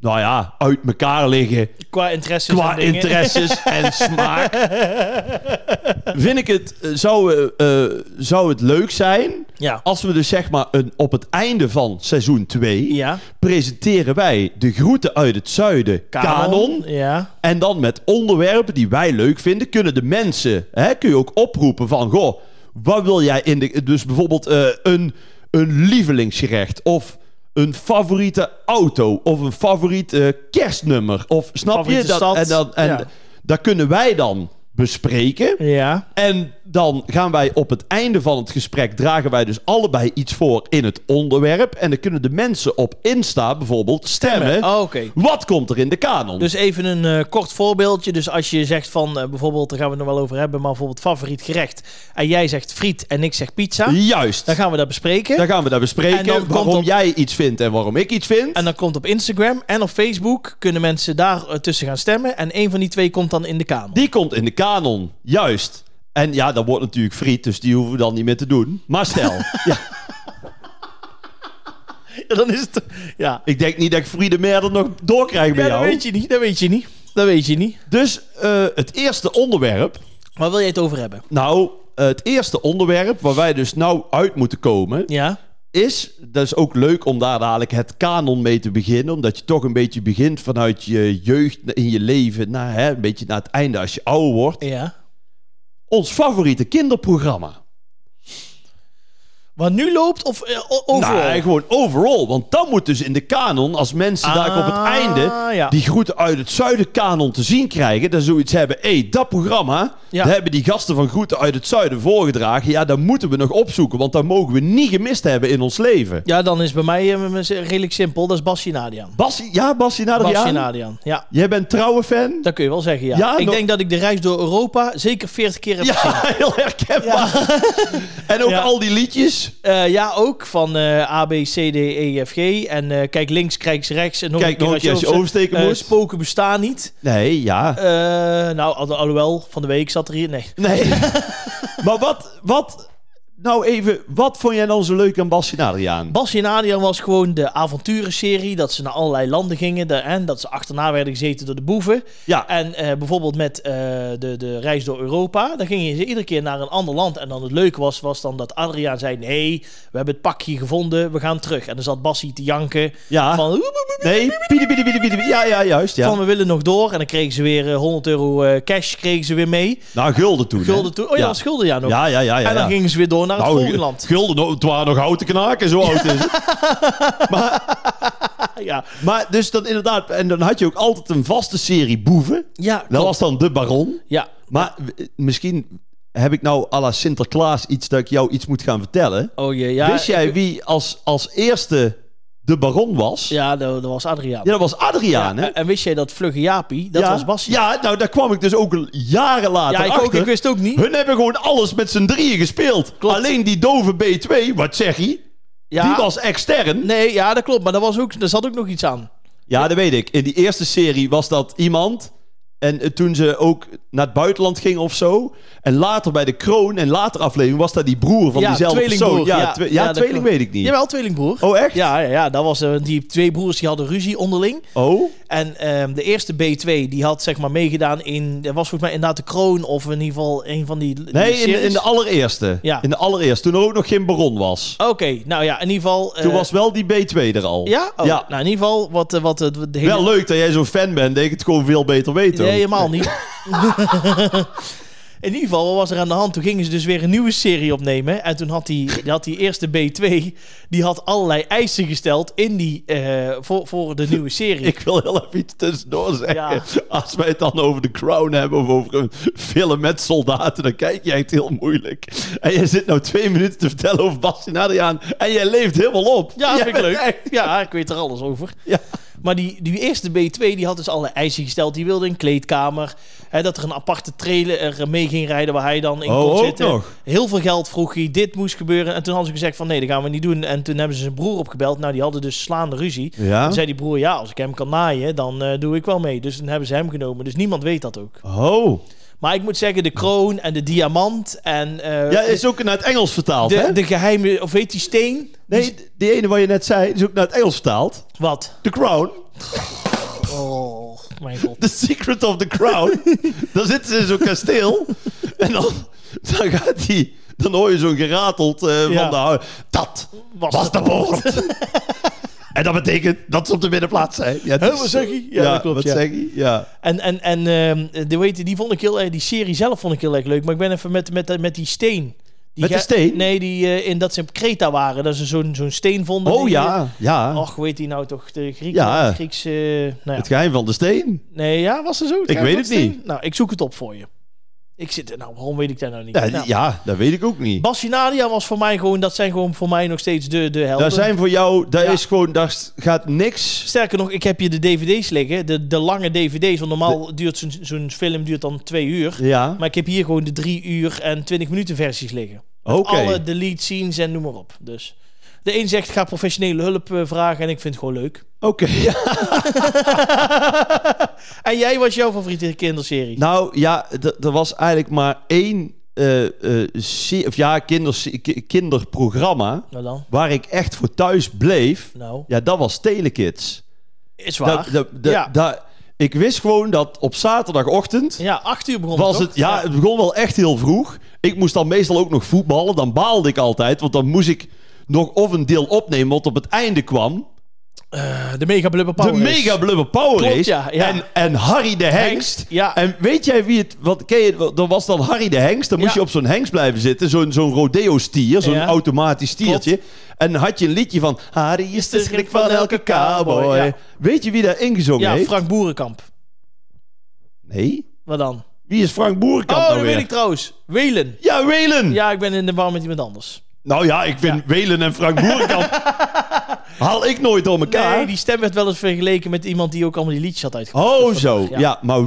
Speaker 2: nou ja, uit elkaar liggen
Speaker 1: Qua interesse.
Speaker 2: qua interesses en smaak, vind ik het, eh, zou, eh, eh, zou het leuk zijn
Speaker 1: Ja.
Speaker 2: als we dus zeg maar een, op het einde van seizoen 2
Speaker 1: Ja.
Speaker 2: presenteren wij de groeten uit het zuiden kanon.
Speaker 1: Ja.
Speaker 2: En dan met onderwerpen die wij leuk vinden, kunnen de mensen, hè, kun je ook oproepen van, goh, wat wil jij in de, dus bijvoorbeeld eh, een, een lievelingsgerecht of een favoriete auto of een favoriet eh, kerstnummer of snap
Speaker 1: Favoriete
Speaker 2: je dat?
Speaker 1: stad,
Speaker 2: En, dan, en
Speaker 1: ja.
Speaker 2: dat kunnen wij dan bespreken.
Speaker 1: Ja.
Speaker 2: En dan gaan wij op het einde van het gesprek dragen wij dus allebei iets voor in het onderwerp. En dan kunnen de mensen op Insta bijvoorbeeld stemmen.
Speaker 1: Oh, Oké.
Speaker 2: Wat komt er in de kanon?
Speaker 1: Dus even een eh, kort voorbeeldje. Dus als je zegt van eh, bijvoorbeeld, daar gaan we het nog wel over hebben, maar bijvoorbeeld favoriet gerecht. En jij zegt friet en ik zeg pizza.
Speaker 2: Juist.
Speaker 1: Dan gaan we dat bespreken.
Speaker 2: Dan gaan we daar
Speaker 1: En dan
Speaker 2: bespreken
Speaker 1: komt
Speaker 2: waarom
Speaker 1: op-
Speaker 2: jij iets vindt en waarom ik iets vind.
Speaker 1: En dan komt op Instagram en op Facebook kunnen mensen daar eh, tussen gaan stemmen. En één van die twee komt dan in de kamer.
Speaker 2: Die komt in de kanon. Juist. En ja, dat wordt natuurlijk friet, dus die hoeven we dan niet meer te doen. Maar stel, ja,
Speaker 1: Ja, dan is het. Ja.
Speaker 2: ik denk niet dat ik Friede Merder nog doorkrijg bij
Speaker 1: ja, dat
Speaker 2: jou.
Speaker 1: weet je niet. Dat weet je niet. Dat weet je niet.
Speaker 2: Dus eh, het eerste onderwerp.
Speaker 1: Waar wil jij het over hebben?
Speaker 2: Nou, eh, het eerste onderwerp waar wij dus nou uit moeten komen...
Speaker 1: Ja.
Speaker 2: is, dat is ook leuk om daar dadelijk het kanon mee te beginnen. Omdat je toch een beetje begint vanuit je jeugd in je leven... Naar, hè, een beetje naar het einde als je ouder wordt.
Speaker 1: Ja.
Speaker 2: Ons favoriete kinderprogramma.
Speaker 1: Wat nu loopt of eh, o- overal?
Speaker 2: Nee, Nou, gewoon overal. Want dan moet dus in de kanon, als mensen daar op het
Speaker 1: Ah,
Speaker 2: einde
Speaker 1: ja.
Speaker 2: die groeten uit het zuiden kanon te zien krijgen, dan zoiets hebben. Hé, dat programma,
Speaker 1: Ja.
Speaker 2: daar hebben die gasten van groeten uit het zuiden voorgedragen. Ja, dat moeten we nog opzoeken, want dat mogen we niet gemist hebben in ons leven.
Speaker 1: Ja, dan is bij mij eh, m- redelijk simpel. Dat is Bassi Nadian.
Speaker 2: Bassie, ja,
Speaker 1: Bassi
Speaker 2: Bassie Nadriaan,
Speaker 1: Nadian, ja.
Speaker 2: jij bent trouwe fan?
Speaker 1: Dat kun je wel zeggen, ja.
Speaker 2: Ja,
Speaker 1: ik
Speaker 2: nog-
Speaker 1: denk dat ik de reis door Europa zeker 40 keer heb gezien.
Speaker 2: Ja, heel herkenbaar. En ook
Speaker 1: Ja.
Speaker 2: al die liedjes.
Speaker 1: Eh, ja, ook van eh, A, B, C, D, E, F, G. En eh, kijk links, kijk rechts. En nog
Speaker 2: Kijk
Speaker 1: een keer
Speaker 2: nog
Speaker 1: als je
Speaker 2: oversteken
Speaker 1: Eh,
Speaker 2: moet.
Speaker 1: spoken bestaan niet.
Speaker 2: Nee, ja.
Speaker 1: Eh, nou, al, alhoewel, van de week zat er hier... Nee.
Speaker 2: Nee. maar wat, wat, nou even, wat vond jij dan zo leuk aan Bassie Nadriaan?
Speaker 1: Basje en Adriaan was gewoon de avonturenserie. Dat ze naar allerlei landen gingen. De, en dat ze achterna werden gezeten door de boeven.
Speaker 2: Ja,
Speaker 1: En eh, bijvoorbeeld met eh, de, de reis door Europa. Dan gingen ze iedere keer naar een ander land. En dan het leuke was, was dan dat Adriaan zei... Nee, we hebben het pakje gevonden. We gaan terug. En dan zat Bassie te janken.
Speaker 2: ja.
Speaker 1: Van,
Speaker 2: Nee, piedi, piedi, piedi, piedi. Ja, ja, juist, ja.
Speaker 1: van we willen nog door. En dan kregen ze weer eh, 100 euro eh, cash kregen ze weer mee.
Speaker 2: Nou, gulden toen, hè?
Speaker 1: Gulden toe. Oh ja,
Speaker 2: Ja.
Speaker 1: dat was gulden ja nog.
Speaker 2: Ja, ja, ja, ja.
Speaker 1: en dan
Speaker 2: ja.
Speaker 1: gingen ze weer door naar het
Speaker 2: Nou,
Speaker 1: volgende land.
Speaker 2: Gulden, nou, het waren nog houten knaken, zo oud is het.
Speaker 1: Ja,
Speaker 2: Maar dus dan inderdaad, en dan had je ook altijd een vaste serie boeven.
Speaker 1: ja,
Speaker 2: Dat
Speaker 1: klopt.
Speaker 2: was dan de baron.
Speaker 1: ja.
Speaker 2: Maar w- misschien heb ik nou à la Sinterklaas iets dat ik jou iets moet gaan vertellen.
Speaker 1: Oh jee, ja.
Speaker 2: Wist jij wie als, als eerste de baron was? Ja,
Speaker 1: Ja, dat, dat was Adriaan.
Speaker 2: dat was Adriaan, hè?
Speaker 1: En- En wist jij dat Vlugge Jaapie, dat
Speaker 2: ja.
Speaker 1: was Basje.
Speaker 2: Ja, nou, daar kwam ik dus ook l- jaren later
Speaker 1: Ja, ik,
Speaker 2: achter.
Speaker 1: ook, ik wist ook niet.
Speaker 2: Hun hebben gewoon alles met z'n drieën gespeeld.
Speaker 1: Klopt.
Speaker 2: Alleen die dove B2, wat zeg je?
Speaker 1: Ja,
Speaker 2: Die was extern.
Speaker 1: Nee, ja, dat klopt. Maar dat was ook, daar zat ook nog iets aan.
Speaker 2: Ja, dat weet ik. In die eerste serie was dat iemand. En eh, toen ze ook naar het buitenland ging of zo. En later bij de kroon en later aflevering was dat die broer van
Speaker 1: Ja,
Speaker 2: diezelfde
Speaker 1: tweelingbroer,
Speaker 2: persoon. Ja,
Speaker 1: ja.
Speaker 2: twe-
Speaker 1: Ja,
Speaker 2: ja,
Speaker 1: dat
Speaker 2: tweeling
Speaker 1: klopt.
Speaker 2: weet ik niet.
Speaker 1: Jawel, tweelingbroer.
Speaker 2: Oh, echt?
Speaker 1: Ja, ja, ja, dat was, eh, die twee broers die hadden ruzie onderling.
Speaker 2: Oh?
Speaker 1: En ehm, de eerste B2, die had zeg maar meegedaan in... Dat was volgens mij inderdaad de kroon of in ieder geval een van die... die
Speaker 2: Nee, in de,
Speaker 1: series.
Speaker 2: in de allereerste.
Speaker 1: Ja.
Speaker 2: In de allereerste. Toen er ook nog geen baron was.
Speaker 1: Oké, nou ja, in ieder geval... eh,
Speaker 2: Toen was wel die B2 er al.
Speaker 1: Ja? Oh,
Speaker 2: ja.
Speaker 1: Nou, in ieder geval wat, eh, wat eh, de hele...
Speaker 2: Wel leuk dat jij zo'n fan bent. Dat ik het gewoon veel beter weet.
Speaker 1: Nee,
Speaker 2: hoor.
Speaker 1: helemaal niet. In ieder geval, wat was er aan de hand? Toen gingen ze dus weer een nieuwe serie opnemen. En toen had die, die, had die eerste B2... die had allerlei eisen gesteld in die, eh, voor, voor de nieuwe serie.
Speaker 2: Ik wil heel even iets tussendoor zeggen.
Speaker 1: Ja.
Speaker 2: Als wij het dan over de Crown hebben of over een film met soldaten, dan kijk jij het heel moeilijk. En jij zit nou twee minuten te vertellen over Bastien Adriaan en jij leeft helemaal op.
Speaker 1: Ja, dat
Speaker 2: Jij
Speaker 1: vind ik
Speaker 2: bent
Speaker 1: leuk.
Speaker 2: echt-
Speaker 1: Ja, ik weet er alles over.
Speaker 2: Ja.
Speaker 1: Maar die, die eerste B2 die had dus alle eisen gesteld. Die wilde een kleedkamer. Hè, dat er een aparte trailer er eh, mee ging rijden waar hij dan in
Speaker 2: Oh,
Speaker 1: kon
Speaker 2: ook
Speaker 1: zitten.
Speaker 2: nog.
Speaker 1: Heel veel geld vroeg hij. Dit moest gebeuren. En toen hadden ze gezegd van nee, dat gaan we niet doen. En toen hebben ze zijn broer opgebeld. Nou, die hadden dus slaande ruzie.
Speaker 2: Ja?
Speaker 1: Toen zei die broer, ja, als ik hem kan naaien, dan eh, doe ik wel mee. Dus dan hebben ze hem genomen. Dus niemand weet dat ook.
Speaker 2: Oh.
Speaker 1: Maar ik moet zeggen, de kroon en de diamant en eh,
Speaker 2: Ja, is ook naar het Engels vertaald,
Speaker 1: de,
Speaker 2: hè?
Speaker 1: de geheime, of weet die steen?
Speaker 2: Nee, die ene wat je net zei, is ook naar het Engels vertaald.
Speaker 1: Wat?
Speaker 2: The Crown.
Speaker 1: Oh, mijn god.
Speaker 2: The Secret of the Crown. dan zitten ze in zo'n kasteel. en dan, dan gaat die... Dan hoor je zo'n gerateld eh,
Speaker 1: Ja.
Speaker 2: van de hou- Dat was, de poort. en dat betekent dat ze op de binnenplaats zijn. Ja, het
Speaker 1: Hè,
Speaker 2: is-
Speaker 1: wat zeg je? Ja, dat klopt,
Speaker 2: Wat
Speaker 1: ja.
Speaker 2: zeg je? Ja.
Speaker 1: En, en, en ehm, de, weet je, die, vond ik heel, erg- die serie zelf vond ik heel erg leuk. Maar ik ben even met, met, met die steen. Die
Speaker 2: Met de
Speaker 1: ge-
Speaker 2: steen?
Speaker 1: Nee, die, eh, in dat ze op Kreta waren. Dat ze zo'n zo'n steen vonden.
Speaker 2: Oh
Speaker 1: die-
Speaker 2: ja, ja.
Speaker 1: Och, weet die nou toch? De Grieken,
Speaker 2: Ja.
Speaker 1: Griekse... nou
Speaker 2: Het
Speaker 1: ja.
Speaker 2: geheim van de steen.
Speaker 1: Nee, ja, was er zo? Ja,
Speaker 2: weet
Speaker 1: was
Speaker 2: het
Speaker 1: steen?
Speaker 2: niet.
Speaker 1: Nou, ik zoek het op voor je. Ik zit er nou, waarom weet ik dat nou niet?
Speaker 2: Ja, die-
Speaker 1: nou,
Speaker 2: ja, dat weet ik ook niet.
Speaker 1: Bassinalia was voor mij gewoon, dat zijn gewoon voor mij nog steeds de, de helden.
Speaker 2: Daar zijn voor jou, daar
Speaker 1: Ja.
Speaker 2: is gewoon, daar gaat niks.
Speaker 1: Sterker nog, ik heb hier de dvd's liggen. De, de lange dvd's, want normaal duurt zo'n zo'n film duurt dan twee uur.
Speaker 2: Ja,
Speaker 1: Maar ik heb hier gewoon de 3 uur en 20 minuten versies liggen.
Speaker 2: oké.
Speaker 1: Alle delete scenes en noem maar op. Dus de een zegt ga professionele hulp eh, vragen en ik vind het gewoon leuk.
Speaker 2: Oké, ja.
Speaker 1: En jij was jouw favoriete kinderserie?
Speaker 2: Nou ja, d- er was eigenlijk maar één eh, eh, se- of ja, kinders, ki- kinderprogramma
Speaker 1: Nou dan.
Speaker 2: waar ik echt voor thuis bleef.
Speaker 1: Nou,
Speaker 2: Ja, dat was Telekids.
Speaker 1: is waar.
Speaker 2: Nou, Dat- dat- dat-
Speaker 1: Ja.
Speaker 2: dat- ik wist gewoon dat op zaterdagochtend
Speaker 1: ja, 8 uur begon
Speaker 2: was
Speaker 1: toch?
Speaker 2: het... Ja, het begon wel echt heel vroeg. Ik moest dan meestal ook nog voetballen. Dan baalde ik altijd, want dan moest ik nog of een deel opnemen wat op het einde kwam.
Speaker 1: eh, de Mega Blubber Power
Speaker 2: de
Speaker 1: Race.
Speaker 2: mega blubber power
Speaker 1: Klopt,
Speaker 2: race.
Speaker 1: ja, ja.
Speaker 2: En, en Harry de Hengst.
Speaker 1: ja.
Speaker 2: En weet jij wie het... Wat, ken je, er was dan Harry de Hengst. Dan moest
Speaker 1: Ja.
Speaker 2: je op zo'n hengst blijven zitten. Zo'n zo'n rodeo-stier. Zo'n
Speaker 1: Ja.
Speaker 2: automatisch stiertje. En dan had je een liedje van... Harry is de schrik van elke cowboy.
Speaker 1: Ja.
Speaker 2: Weet je wie daar ingezongen
Speaker 1: Ja,
Speaker 2: heeft?
Speaker 1: Frank Boerenkamp.
Speaker 2: Nee?
Speaker 1: Wat dan?
Speaker 2: Wie is Frank Boerenkamp
Speaker 1: oh,
Speaker 2: nou
Speaker 1: dat
Speaker 2: weer?
Speaker 1: weet ik trouwens. Welen.
Speaker 2: Ja, Welen.
Speaker 1: Ja, ik ben in de war met iemand anders.
Speaker 2: Nou ja, ik vind Welen en Frank Boerenkamp... haal ik nooit door elkaar.
Speaker 1: Nee, die stem werd wel eens vergeleken met iemand die ook allemaal die liedjes had uitgebracht.
Speaker 2: Oh,
Speaker 1: Dat
Speaker 2: zo.
Speaker 1: vandaag,
Speaker 2: Ja, maar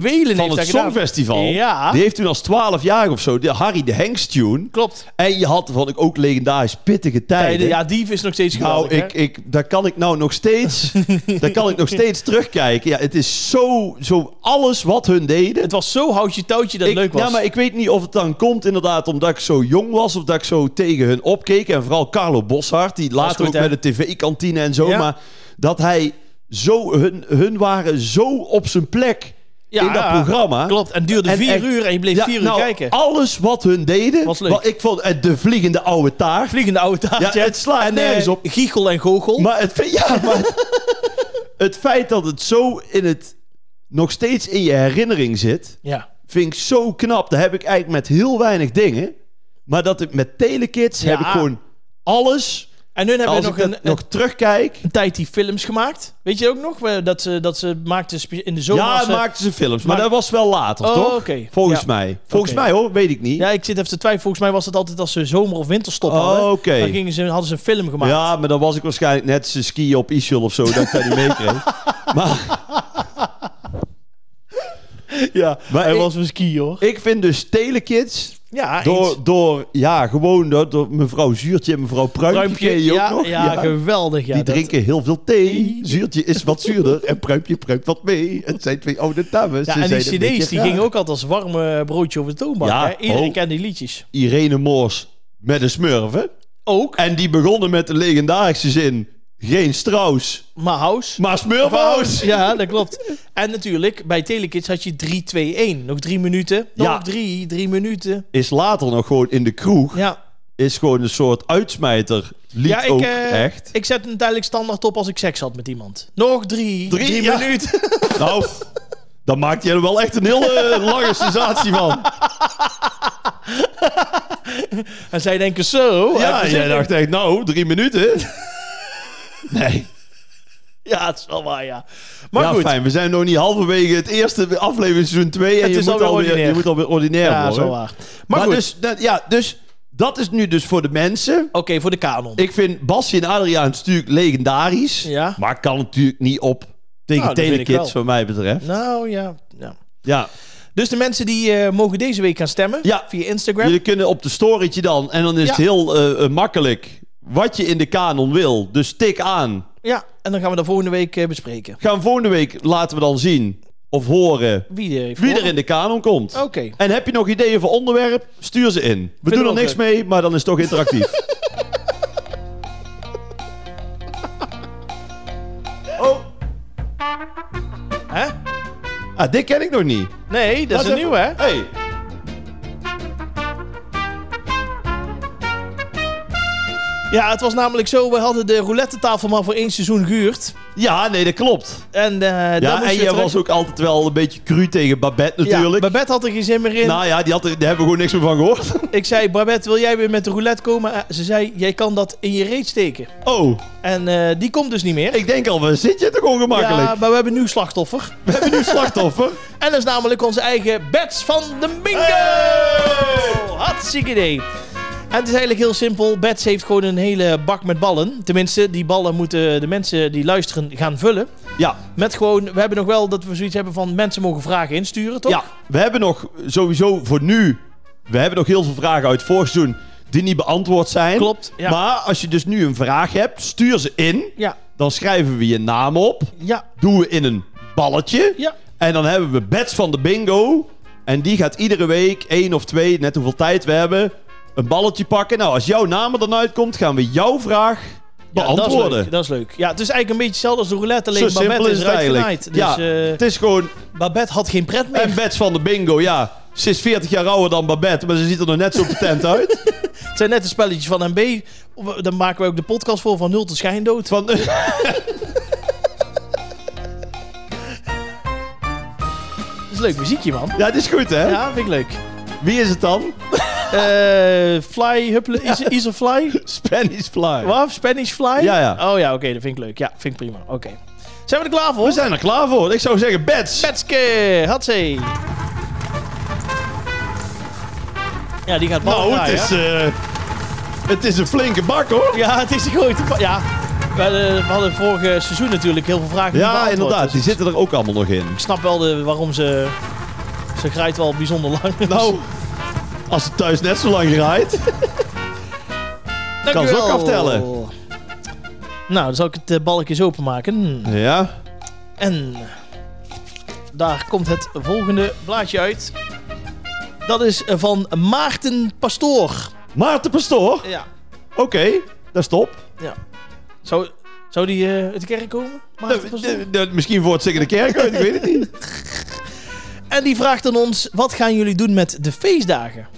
Speaker 1: Welen
Speaker 2: van
Speaker 1: heeft
Speaker 2: het
Speaker 1: dat gedaan.
Speaker 2: Songfestival,
Speaker 1: Ja.
Speaker 2: die heeft toen als 12 jaar of zo de Harry de Hengst tune.
Speaker 1: Klopt.
Speaker 2: En je had, wat ik ook legendarisch, pittige tijden.
Speaker 1: Ja, Dief is nog steeds
Speaker 2: nou,
Speaker 1: geweldig.
Speaker 2: ik,
Speaker 1: hè?
Speaker 2: ik, daar kan ik nou nog steeds, daar kan ik nog steeds terugkijken. Ja, het is zo, zo alles wat hun deden.
Speaker 1: Het was zo houtje touwtje dat
Speaker 2: Ik-
Speaker 1: het leuk was.
Speaker 2: Ja, maar ik weet niet of het dan komt inderdaad omdat ik zo jong was of dat ik zo tegen hun opkeek. En vooral Carlo Boshart, die later
Speaker 1: goed,
Speaker 2: ook
Speaker 1: hè?
Speaker 2: met de tv-kantine en zo.
Speaker 1: Ja.
Speaker 2: Maar dat hij zo, hun, hun waren zo op zijn plek
Speaker 1: Ja,
Speaker 2: in dat
Speaker 1: ja,
Speaker 2: programma.
Speaker 1: Klopt, en duurde
Speaker 2: En
Speaker 1: vier
Speaker 2: echt-
Speaker 1: uur en je bleef
Speaker 2: Ja,
Speaker 1: vier uur
Speaker 2: nou,
Speaker 1: kijken.
Speaker 2: Alles wat hun deden.
Speaker 1: Was leuk.
Speaker 2: Wat ik vond, eh, de vliegende oude taart.
Speaker 1: Vliegende oude
Speaker 2: Ja,
Speaker 1: taart.
Speaker 2: het slaat
Speaker 1: en
Speaker 2: nergens
Speaker 1: eh,
Speaker 2: op.
Speaker 1: Giechel en Gogel.
Speaker 2: Maar het, fe- ja, maar het, het feit dat het zo in het, nog steeds in je herinnering zit.
Speaker 1: ja.
Speaker 2: vind ik zo knap. Dat heb ik eigenlijk met heel weinig dingen. Maar dat ik met telekids
Speaker 1: Ja.
Speaker 2: heb ik gewoon alles.
Speaker 1: En hun hebben
Speaker 2: Als
Speaker 1: nog
Speaker 2: ik
Speaker 1: een,
Speaker 2: dat nog terugkijk.
Speaker 1: een tijd die films gemaakt. Weet je ook nog? eh, Dat ze, dat ze maakten spe- in de eh, zomer...
Speaker 2: ja,
Speaker 1: als ze-
Speaker 2: maakten ze films. Maar,
Speaker 1: maar-
Speaker 2: dat was wel later,
Speaker 1: Oh,
Speaker 2: toch?
Speaker 1: oké.
Speaker 2: Volgens
Speaker 1: Ja.
Speaker 2: mij. Volgens
Speaker 1: Oké.
Speaker 2: mij hoor, weet ik niet.
Speaker 1: Ja, ik zit even te twijfelen. Volgens mij was dat altijd als ze zomer- of winterstop
Speaker 2: Oh,
Speaker 1: hadden.
Speaker 2: oké.
Speaker 1: Dan gingen ze, hadden ze een film gemaakt.
Speaker 2: Ja, maar dan was ik waarschijnlijk net ze skiën op Ischel of zo. Dat ik dat niet meekreeg. Maar
Speaker 1: ja.
Speaker 2: Maar
Speaker 1: hij
Speaker 2: ik-
Speaker 1: was een ski, hoor.
Speaker 2: ik vind dus telekids...
Speaker 1: Ja, eens.
Speaker 2: Door, door, ja, gewoon door, door mevrouw Zuurtje en mevrouw Pruimpje. ken je ook
Speaker 1: ja,
Speaker 2: nog?
Speaker 1: ja, geweldig. Ja,
Speaker 2: die
Speaker 1: dat-
Speaker 2: drinken heel veel thee. Zuurtje is wat zuurder en pruimpje pruimt wat mee. Het zijn twee oude dames.
Speaker 1: Ja,
Speaker 2: Ze
Speaker 1: en die
Speaker 2: zijn een beetje
Speaker 1: cd's die
Speaker 2: raar.
Speaker 1: gingen ook altijd als warme broodje over de toonbank.
Speaker 2: Ja,
Speaker 1: hè? Iedereen
Speaker 2: oh.
Speaker 1: kent die liedjes.
Speaker 2: Irene Moors met een smurven.
Speaker 1: Ook,
Speaker 2: En die begonnen met de legendarische zin... Geen Strauss,
Speaker 1: maar House.
Speaker 2: maar Smurfhaus.
Speaker 1: Ja, dat klopt. En natuurlijk, bij Telekids had je 3-2-1. Nog drie minuten. Nog
Speaker 2: Ja.
Speaker 1: drie, drie minuten.
Speaker 2: Is later nog gewoon in de kroeg.
Speaker 1: Ja,
Speaker 2: Is gewoon een soort uitsmijter. Lied
Speaker 1: ja ik,
Speaker 2: ook
Speaker 1: eh,
Speaker 2: echt.
Speaker 1: ik zet hem tijdelijk standaard op als ik seks had met iemand. Nog drie,
Speaker 2: Drie,
Speaker 1: drie,
Speaker 2: ja.
Speaker 1: minuten.
Speaker 2: Nou, daar maakt hij er wel echt een hele lange sensatie van.
Speaker 1: En zij denken zo.
Speaker 2: Ja,
Speaker 1: even
Speaker 2: jij
Speaker 1: zitten.
Speaker 2: dacht echt, nou, drie minuten. Nee.
Speaker 1: Ja, het is wel waar, ja. Maar
Speaker 2: ja,
Speaker 1: goed.
Speaker 2: fijn. We zijn nog niet halverwege het eerste aflevering seizoen 2. En
Speaker 1: Het
Speaker 2: je
Speaker 1: is
Speaker 2: moet,
Speaker 1: alweer
Speaker 2: alweer, je
Speaker 1: ordinair.
Speaker 2: moet alweer ordinair
Speaker 1: Ja,
Speaker 2: worden.
Speaker 1: zo waar. Maar,
Speaker 2: Maar,
Speaker 1: goed.
Speaker 2: dus, dat, ja, dus dat is nu dus voor de mensen.
Speaker 1: Oké, voor de kanon.
Speaker 2: Ik vind Basje en Adriaan natuurlijk legendarisch.
Speaker 1: Ja.
Speaker 2: Maar kan natuurlijk niet op tegen
Speaker 1: Nou, dat vind ik
Speaker 2: Telekids,
Speaker 1: wel.
Speaker 2: wat mij betreft.
Speaker 1: Nou, ja. ja.
Speaker 2: Ja.
Speaker 1: Dus de mensen die eh, mogen deze week gaan stemmen
Speaker 2: Ja.
Speaker 1: via Instagram.
Speaker 2: Jullie kunnen op de storytje dan. En dan is het
Speaker 1: Ja.
Speaker 2: heel eh, eh, makkelijk wat je in de kanon wil. Dus tik aan.
Speaker 1: Ja, en dan gaan we dat volgende week eh, bespreken.
Speaker 2: Gaan volgende week laten we dan zien of horen
Speaker 1: Wie, er heeft
Speaker 2: wie er
Speaker 1: gewonnen.
Speaker 2: in de kanon komt.
Speaker 1: Oké.
Speaker 2: En heb je nog ideeën voor onderwerp? Stuur ze in. We doen
Speaker 1: we
Speaker 2: er
Speaker 1: ook
Speaker 2: niks mee, maar dan is het toch interactief. oh,
Speaker 1: Hè?
Speaker 2: ah, dit ken ik nog niet.
Speaker 1: Nee, dat
Speaker 2: Wacht
Speaker 1: is een
Speaker 2: even.
Speaker 1: nieuwe, hè?
Speaker 2: Hey.
Speaker 1: Ja, het was namelijk zo. We hadden de roulette tafel maar voor één seizoen gehuurd.
Speaker 2: Ja, nee, dat klopt.
Speaker 1: En, eh
Speaker 2: Ja, en jij was ook altijd wel een beetje cru tegen Babette natuurlijk.
Speaker 1: Ja, Babette had er geen zin meer in.
Speaker 2: nou ja, die had er, daar hebben we gewoon niks meer van gehoord.
Speaker 1: Ik zei, Babette, wil jij weer met de roulette komen? Eh, ze zei, jij kan dat in je reet steken.
Speaker 2: Oh,
Speaker 1: En eh, die komt dus niet meer.
Speaker 2: ik denk al, waar zit je toch ongemakkelijk?
Speaker 1: Ja, maar we hebben een nieuw slachtoffer.
Speaker 2: We hebben nu slachtoffer.
Speaker 1: En dat is namelijk onze eigen Bets van de Bingo.
Speaker 2: Hey!
Speaker 1: Hartstikke idee. En het is eigenlijk heel simpel. Bets heeft gewoon een hele bak met ballen. Tenminste, die ballen moeten de mensen die luisteren gaan vullen.
Speaker 2: Ja,
Speaker 1: Met gewoon, we hebben nog wel dat we zoiets hebben van mensen mogen vragen insturen, toch?
Speaker 2: Ja, we hebben nog sowieso voor nu. We hebben nog heel veel vragen uit vorig seizoen die niet beantwoord zijn.
Speaker 1: Klopt, ja.
Speaker 2: Maar als je dus nu een vraag hebt, stuur ze in.
Speaker 1: Ja,
Speaker 2: Dan schrijven we je naam op.
Speaker 1: ja,
Speaker 2: Doen we in een balletje.
Speaker 1: ja.
Speaker 2: En dan hebben we Bets van de Bingo. En die gaat iedere week één of twee, net hoeveel tijd we hebben, een balletje pakken. Nou, als jouw naam er dan uitkomt, gaan we jouw vraag
Speaker 1: Ja, Dat is,
Speaker 2: beantwoorden.
Speaker 1: leuk, dat is leuk. Ja, het is eigenlijk een beetje hetzelfde als de roulette, alleen
Speaker 2: Zo simpel
Speaker 1: Babette
Speaker 2: is
Speaker 1: is
Speaker 2: het
Speaker 1: eruit
Speaker 2: eigenlijk.
Speaker 1: genaaid. Dus
Speaker 2: ja,
Speaker 1: eh,
Speaker 2: het is gewoon
Speaker 1: Babette had geen pret meer.
Speaker 2: En Bets van de Bingo, ja. Ze is 40 jaar ouder dan Babette, maar ze ziet er nog net zo patent uit.
Speaker 1: zijn net een spelletje van MB. Dan maken we ook de podcast voor van nul tot schijndood.
Speaker 2: Van,
Speaker 1: Dat is leuk muziekje, man.
Speaker 2: ja, dit is goed, hè?
Speaker 1: Ja, vind ik leuk.
Speaker 2: Wie is het dan?
Speaker 1: Eh, fly, huppelen, is, is er fly?
Speaker 2: Spanish Fly.
Speaker 1: Wat? Spanish fly?
Speaker 2: Ja, ja.
Speaker 1: Oh ja, oké, dat vind ik leuk. Ja, vind ik prima. Oké. Zijn we er klaar voor?
Speaker 2: We zijn er klaar voor. Ik zou zeggen, bets.
Speaker 1: Petske, hatsé. Ja, die gaat ballen
Speaker 2: Nou, het
Speaker 1: draaien,
Speaker 2: is,
Speaker 1: hè?
Speaker 2: eh, het is een flinke bak, hoor.
Speaker 1: eh, Ja, het is goed. Ja, we hadden, we hadden vorig seizoen natuurlijk heel veel vragen. niet
Speaker 2: Ja,
Speaker 1: beantwoord.
Speaker 2: inderdaad.
Speaker 1: Dus
Speaker 2: Die zitten er ook allemaal nog in.
Speaker 1: Ik snap wel de, waarom ze... Ze grijpt wel bijzonder lang.
Speaker 2: Nou, als het thuis net zo lang rijdt.
Speaker 1: Dank
Speaker 2: kan
Speaker 1: u
Speaker 2: ze
Speaker 1: wel.
Speaker 2: ook aftellen.
Speaker 1: Nou, dan zal ik het eh, balkje eens openmaken. Hm.
Speaker 2: Ja.
Speaker 1: En daar komt het volgende blaadje uit. Dat is eh, van Maarten Pastoor.
Speaker 2: Maarten Pastoor.
Speaker 1: Ja.
Speaker 2: Oké, dat is top.
Speaker 1: Ja. Zou, zou die eh, uit de kerk komen? Maarten
Speaker 2: Nou,
Speaker 1: Pastoor?
Speaker 2: d- d- Misschien voor het zingen de kerk uit, ik weet het niet.
Speaker 1: En die vraagt aan ons: wat gaan jullie doen met de feestdagen?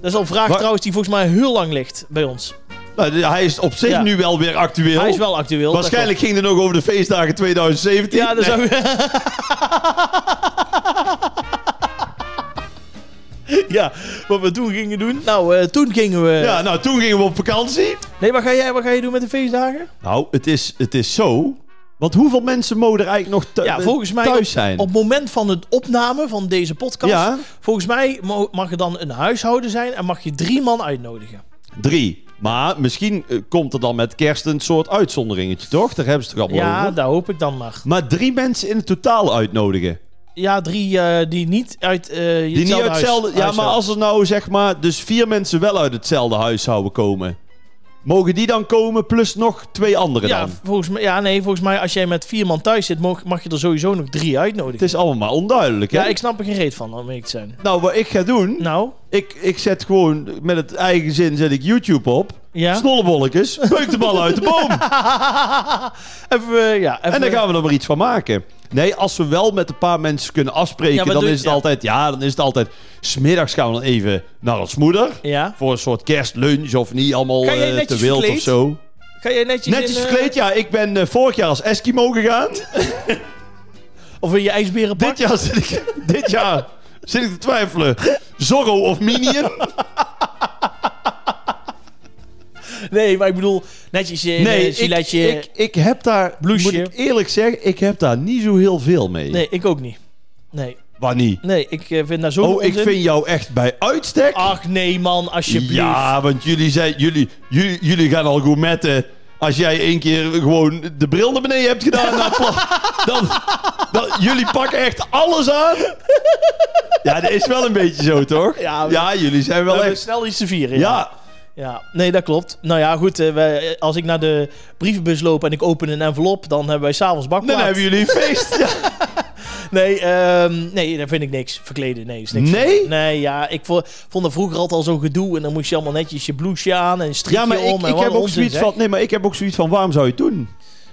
Speaker 1: Dat is al een vraag
Speaker 2: Wa-
Speaker 1: trouwens die volgens mij heel lang ligt bij ons.
Speaker 2: Nou, d- hij is op zich
Speaker 1: Ja.
Speaker 2: nu wel weer actueel.
Speaker 1: Hij is wel actueel.
Speaker 2: Oh, Waarschijnlijk ging het nog over de feestdagen 2017.
Speaker 1: dat klopt. Ja, dat
Speaker 2: Nee.
Speaker 1: zou. ja, wat we toen gingen doen. Nou, eh, toen gingen we.
Speaker 2: ja, nou, toen gingen we op vakantie.
Speaker 1: Nee, wat ga, jij, wat ga je doen met de feestdagen?
Speaker 2: Nou, het is, het is zo. Want hoeveel mensen mogen er eigenlijk nog thu-
Speaker 1: Ja, volgens mij
Speaker 2: eh, thuis
Speaker 1: op-
Speaker 2: zijn?
Speaker 1: Op het moment van het opname van deze podcast.
Speaker 2: Ja.
Speaker 1: Volgens mij mo- mag er dan een huishouden zijn en mag je drie man uitnodigen.
Speaker 2: Drie. Maar misschien eh, komt er dan met kerst een soort uitzonderingetje, toch? Daar hebben ze het toch allemaal
Speaker 1: Ja,
Speaker 2: over?
Speaker 1: daar hoop ik dan maar.
Speaker 2: Maar drie mensen in het totaal uitnodigen.
Speaker 1: Ja, drie eh, die niet uit eh
Speaker 2: Die niet
Speaker 1: hetzelfde
Speaker 2: uit
Speaker 1: huis-
Speaker 2: hetzelfde... Ja,
Speaker 1: huis
Speaker 2: maar
Speaker 1: zijn.
Speaker 2: als er nou zeg maar... Dus vier mensen wel uit hetzelfde huishouden komen. Mogen die dan komen plus nog twee anderen
Speaker 1: Ja,
Speaker 2: dan?
Speaker 1: volgens mij, ja, nee, volgens mij als jij met vier man thuis zit, mag, mag je er sowieso nog drie
Speaker 2: Het
Speaker 1: uitnodigen.
Speaker 2: is allemaal maar onduidelijk, hè?
Speaker 1: Ja, ik snap er geen reet van, om ik te zijn.
Speaker 2: Nou, wat ik ga doen...
Speaker 1: Nou,
Speaker 2: Ik, ik zet gewoon... Met het eigen zin zet ik YouTube op.
Speaker 1: ja.
Speaker 2: Snollebolletjes. Beuk de bal uit de boom.
Speaker 1: even, eh, ja, even,
Speaker 2: En dan gaan we er maar iets van maken. Nee, als we wel met een paar mensen kunnen afspreken,
Speaker 1: Ja, maar
Speaker 2: dan
Speaker 1: doe-
Speaker 2: is het
Speaker 1: ja.
Speaker 2: altijd. Ja, dan is het altijd. Smiddags gaan we dan even naar ons moeder.
Speaker 1: Ja.
Speaker 2: Voor een soort kerstlunch of niet allemaal
Speaker 1: Ga jij
Speaker 2: eh, te
Speaker 1: netjes
Speaker 2: wild
Speaker 1: verkleed?
Speaker 2: of zo.
Speaker 1: Ga jij netjes,
Speaker 2: Netjes
Speaker 1: in, eh,
Speaker 2: verkleed, ja. Ik ben eh, vorig jaar als Eskimo gegaan.
Speaker 1: Of in je ijsberenpak?
Speaker 2: dit jaar zit ik, dit jaar zit ik te twijfelen. Zorro of Minion?
Speaker 1: Nee, maar ik bedoel, netjes in eh,
Speaker 2: Nee,
Speaker 1: nee,
Speaker 2: ik, ik, ik heb daar,
Speaker 1: Blouseje.
Speaker 2: moet ik eerlijk zeggen, ik heb daar niet zo heel veel mee.
Speaker 1: Nee, ik ook niet. Nee,
Speaker 2: Waar niet?
Speaker 1: nee ik eh, vind daar zo
Speaker 2: Oh, ik vind jou echt bij uitstek.
Speaker 1: Ach nee, man, alsjeblieft.
Speaker 2: Ja, want jullie, zijn, jullie, jullie, jullie gaan al gourmetten. Als jij één keer gewoon de bril naar beneden hebt gedaan, dan, pla- dan, dan- jullie pakken echt alles aan. Ja, dat is wel een beetje zo, toch?
Speaker 1: Ja, we-
Speaker 2: jullie zijn
Speaker 1: We
Speaker 2: wel
Speaker 1: hebben
Speaker 2: echt...
Speaker 1: snel iets te vieren.
Speaker 2: Ja,
Speaker 1: Ja, nee, dat klopt. Nou ja, goed. eh, wij, als ik naar de brievenbus loop en ik open een envelop, dan hebben wij s'avonds bakplaat.
Speaker 2: dan hebben jullie een feest. Ja.
Speaker 1: Nee, ehm, nee, daar vind ik niks. Verkleden, nee, is niks.
Speaker 2: Nee?
Speaker 1: Nee, ja, ik vo- vond er vroeger altijd al zo'n gedoe en dan moest je allemaal netjes je blouseje aan en een strikje
Speaker 2: Ja, maar
Speaker 1: om.
Speaker 2: ik,
Speaker 1: en
Speaker 2: ik
Speaker 1: wat
Speaker 2: heb
Speaker 1: een
Speaker 2: ook
Speaker 1: onzin,
Speaker 2: zoiets
Speaker 1: zeg.
Speaker 2: van... Nee, maar ik heb ook zoiets van, waarom zou je het doen?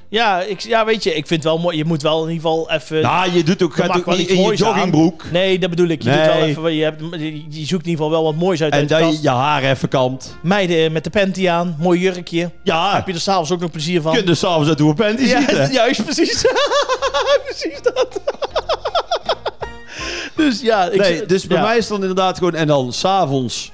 Speaker 1: Ja, ik, ja, weet je, ik vind wel mooi. Je moet wel in ieder geval even...
Speaker 2: Nou, je doet ook,
Speaker 1: Er
Speaker 2: gaat
Speaker 1: mag
Speaker 2: ook
Speaker 1: wel
Speaker 2: niet
Speaker 1: iets
Speaker 2: in je
Speaker 1: moois aan.
Speaker 2: joggingbroek.
Speaker 1: Nee, dat bedoel ik. Je, doet wel
Speaker 2: Nee.
Speaker 1: even, wat je, hebt, je- je zoekt in ieder geval wel wat moois uit.
Speaker 2: En
Speaker 1: uit de
Speaker 2: dat je
Speaker 1: kast.
Speaker 2: je haar even kant.
Speaker 1: Meiden eh, met de panty aan, mooi jurkje. Heb
Speaker 2: Ja,
Speaker 1: je er s'avonds ook nog plezier van?
Speaker 2: je kunt dus s'avonds uit uw panties
Speaker 1: Ja,
Speaker 2: zitten.
Speaker 1: juist, precies. precies dat. dus ja, ik
Speaker 2: nee, dus bij
Speaker 1: ja.
Speaker 2: mij is het dan inderdaad gewoon... En dan s'avonds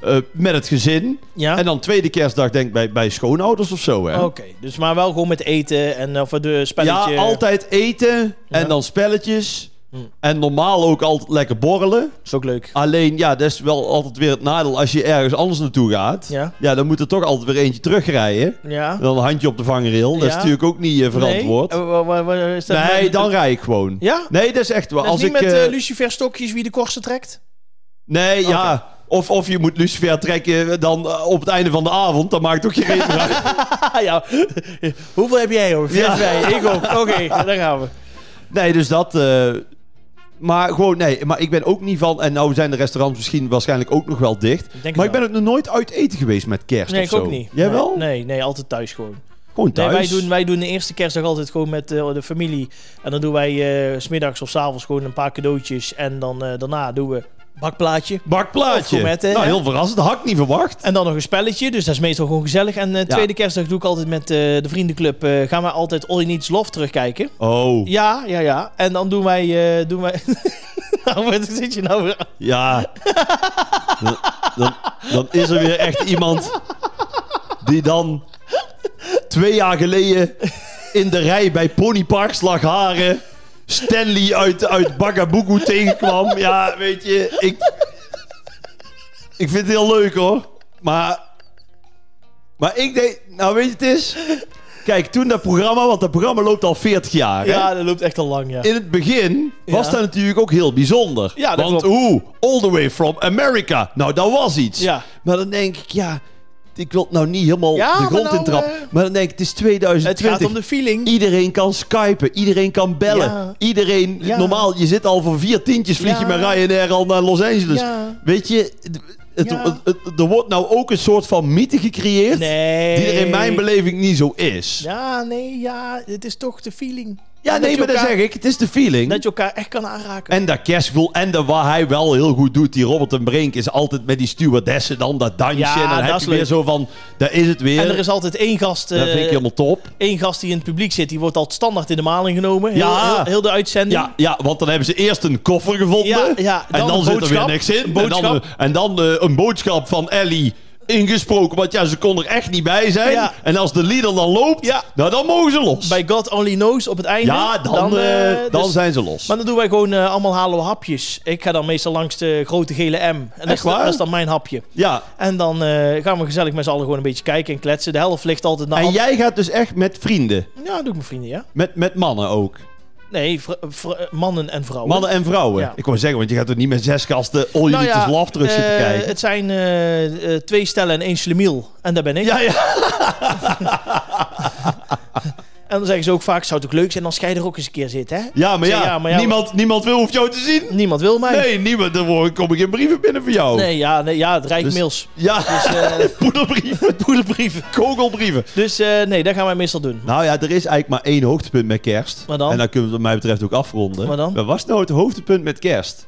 Speaker 2: eh met het gezin.
Speaker 1: Ja?
Speaker 2: En dan tweede kerstdag denk ik bij, bij schoonouders of zo. Hè?
Speaker 1: Oké, dus maar wel gewoon met eten en of de spelletje.
Speaker 2: ja, altijd eten en
Speaker 1: Ja.
Speaker 2: dan spelletjes.
Speaker 1: Hm.
Speaker 2: En normaal ook altijd lekker borrelen.
Speaker 1: Is ook leuk.
Speaker 2: Alleen, ja, dat is wel altijd weer het nadeel als je ergens anders naartoe gaat.
Speaker 1: Ja.
Speaker 2: dan moet er toch altijd weer eentje terugrijden.
Speaker 1: Ja.
Speaker 2: En dan een handje op de vangrail. Dat
Speaker 1: Ja.
Speaker 2: is natuurlijk ook niet eh, verantwoord.
Speaker 1: Nee, Eh, wa- wa- wa- is dat
Speaker 2: Nee,
Speaker 1: met-
Speaker 2: dan rij ik gewoon.
Speaker 1: Ja?
Speaker 2: Nee, dat is echt wel.
Speaker 1: Dat is
Speaker 2: Als
Speaker 1: niet
Speaker 2: ik,
Speaker 1: met
Speaker 2: eh,
Speaker 1: eh, luciferstokjes wie de korsten trekt?
Speaker 2: Nee,
Speaker 1: Oké.
Speaker 2: ja. Of, of je moet Lucifer trekken dan eh, op het einde van de avond. Dan maakt ook je reden uit.
Speaker 1: Ah, ja. Hoeveel heb jij hoor?
Speaker 2: Ja.
Speaker 1: Ja. Wij. Ik ook. Oké, daar gaan we.
Speaker 2: Nee, dus dat... eh, maar gewoon, nee. Maar ik ben ook niet van... En nou zijn de restaurants misschien waarschijnlijk ook nog wel dicht.
Speaker 1: denk het
Speaker 2: maar ik
Speaker 1: wel.
Speaker 2: ben ook nog nooit uit eten geweest met kerst
Speaker 1: Nee,
Speaker 2: of
Speaker 1: ik
Speaker 2: zo.
Speaker 1: ook niet.
Speaker 2: Jij
Speaker 1: nee,
Speaker 2: wel?
Speaker 1: Nee, nee, altijd thuis gewoon.
Speaker 2: Gewoon thuis.
Speaker 1: Nee, wij, doen, wij doen de eerste kerstdag altijd gewoon met eh, de familie. En dan doen wij eh, s smiddags of s'avonds gewoon een paar cadeautjes. En dan eh, daarna doen we bakplaatje.
Speaker 2: Bakplaatje.
Speaker 1: Of gourmetten,
Speaker 2: nou,
Speaker 1: hè?
Speaker 2: heel verrassend. Had ik niet verwacht.
Speaker 1: En dan nog een spelletje, dus dat is meestal gewoon gezellig. En eh, tweede kerstdag doe ik altijd met eh, de vriendenclub. eh, gaan we altijd All You Needs Love terugkijken.
Speaker 2: Oh,
Speaker 1: Ja, ja, ja. En dan doen wij... eh, doen wij... nou, wat zit je nou weer...
Speaker 2: ja. dan, dan, dan is er weer echt iemand die dan twee jaar geleden in de rij bij Ponypark Slagharen Stanley uit, uit Bagabugu tegenkwam. Ja, weet je, ik, ik vind het heel leuk hoor. Maar, maar ik denk, nou weet je het is? Kijk, toen dat programma, want dat programma loopt al 40 jaar. hè?
Speaker 1: Ja, dat loopt echt al lang, ja.
Speaker 2: in het begin was
Speaker 1: Ja.
Speaker 2: dat natuurlijk ook heel bijzonder.
Speaker 1: Ja, dat
Speaker 2: Want
Speaker 1: klopt.
Speaker 2: hoe? All the way from America. Nou, dat was iets.
Speaker 1: Ja.
Speaker 2: Maar dan denk ik, ja, ik wil het nou niet helemaal
Speaker 1: Ja,
Speaker 2: de
Speaker 1: maar
Speaker 2: grond
Speaker 1: nou,
Speaker 2: intrappen.
Speaker 1: eh,
Speaker 2: Maar dan denk ik, het is
Speaker 1: Het
Speaker 2: 2020.
Speaker 1: gaat om de feeling.
Speaker 2: Iedereen kan skypen, iedereen kan bellen.
Speaker 1: Ja.
Speaker 2: Iedereen,
Speaker 1: Ja.
Speaker 2: normaal, je zit al voor vier tientjes, vlieg je
Speaker 1: Ja.
Speaker 2: met Ryanair al naar Los Angeles.
Speaker 1: Ja.
Speaker 2: Weet je, het, het-
Speaker 1: Ja.
Speaker 2: het- het- er wordt nou ook een soort van mythe gecreëerd.
Speaker 1: Nee.
Speaker 2: Die er in mijn beleving niet zo is. Ja,
Speaker 1: Ja, nee, ja. Het is toch de feeling. Dat
Speaker 2: nee,
Speaker 1: je
Speaker 2: maar dat
Speaker 1: elkaar-
Speaker 2: zeg ik. Het is de feeling.
Speaker 1: Dat je elkaar echt kan aanraken.
Speaker 2: En dat kerstgevoel. En de, wat hij wel heel goed doet, die Robert en Brink, is altijd met die stewardessen dan dat dansje.
Speaker 1: Ja,
Speaker 2: en dan
Speaker 1: dat
Speaker 2: heb
Speaker 1: is
Speaker 2: je weer
Speaker 1: leuk.
Speaker 2: zo van, daar is het weer.
Speaker 1: En er is altijd één gast, eh,
Speaker 2: eh, dat vind ik helemaal top.
Speaker 1: één gast die in het publiek zit. Die wordt altijd standaard in de maling genomen. Heel,
Speaker 2: Ja.
Speaker 1: heel, heel de uitzending.
Speaker 2: Ja, ja, want dan hebben ze eerst een koffer gevonden.
Speaker 1: Ja, ja,
Speaker 2: en
Speaker 1: dan
Speaker 2: dan
Speaker 1: een
Speaker 2: zit er weer
Speaker 1: boodschap.
Speaker 2: niks in.
Speaker 1: Een
Speaker 2: En dan,
Speaker 1: boodschap.
Speaker 2: en dan eh, een boodschap van Ellie ingesproken. Want ja, ze kon er echt niet bij zijn.
Speaker 1: Ja.
Speaker 2: En als de leader dan loopt,
Speaker 1: Ja.
Speaker 2: nou, dan mogen ze los.
Speaker 1: Bij God Only Knows op het einde.
Speaker 2: ja, dan,
Speaker 1: eh,
Speaker 2: eh, dan
Speaker 1: dus-
Speaker 2: zijn ze los.
Speaker 1: Maar dan doen wij gewoon eh, allemaal halen we hapjes. Ik ga dan meestal langs de grote gele M. En dat,
Speaker 2: Echt
Speaker 1: is, dan-
Speaker 2: waar?
Speaker 1: dat is dan mijn hapje.
Speaker 2: ja.
Speaker 1: En dan eh, gaan we gezellig met z'n allen gewoon een beetje kijken en kletsen. De helft ligt altijd naar...
Speaker 2: En
Speaker 1: hand-
Speaker 2: jij gaat dus echt met vrienden.
Speaker 1: Ja, dat doe ik mijn vrienden, ja.
Speaker 2: Met, met mannen ook.
Speaker 1: Nee, vr- vr- eh, mannen en vrouwen.
Speaker 2: Mannen en vrouwen.
Speaker 1: Ja.
Speaker 2: Ik wou zeggen, want je gaat toch niet met zes gasten All You
Speaker 1: Nou
Speaker 2: Need Is
Speaker 1: ja,
Speaker 2: Love terug zitten
Speaker 1: eh,
Speaker 2: kijken.
Speaker 1: Het zijn eh, eh, twee stellen en één slemiel. En daar ben ik.
Speaker 2: Ja, ja.
Speaker 1: En dan zeggen ze ook vaak, zou het ook leuk zijn als jij er ook eens een keer zit, hè?
Speaker 2: Ja, maar
Speaker 1: Ik
Speaker 2: ja,
Speaker 1: zeg, ja, maar ja,
Speaker 2: niemand, niemand wil hoeft jou te zien.
Speaker 1: Niemand wil mij.
Speaker 2: Nee, niemand. Dan kom ik in brieven binnen voor jou.
Speaker 1: Nee, ja, nee, ja het rijdt
Speaker 2: Dus-
Speaker 1: mails.
Speaker 2: Ja,
Speaker 1: Dus, eh,
Speaker 2: poederbrieven,
Speaker 1: poederbrieven.
Speaker 2: kogelbrieven.
Speaker 1: Dus eh, nee, dat gaan wij meestal doen.
Speaker 2: Nou ja, er is eigenlijk maar één hoogtepunt met kerst.
Speaker 1: Wat dan?
Speaker 2: En dan kunnen we het wat mij betreft ook afronden.
Speaker 1: Wat dan?
Speaker 2: was nou het hoogtepunt met kerst?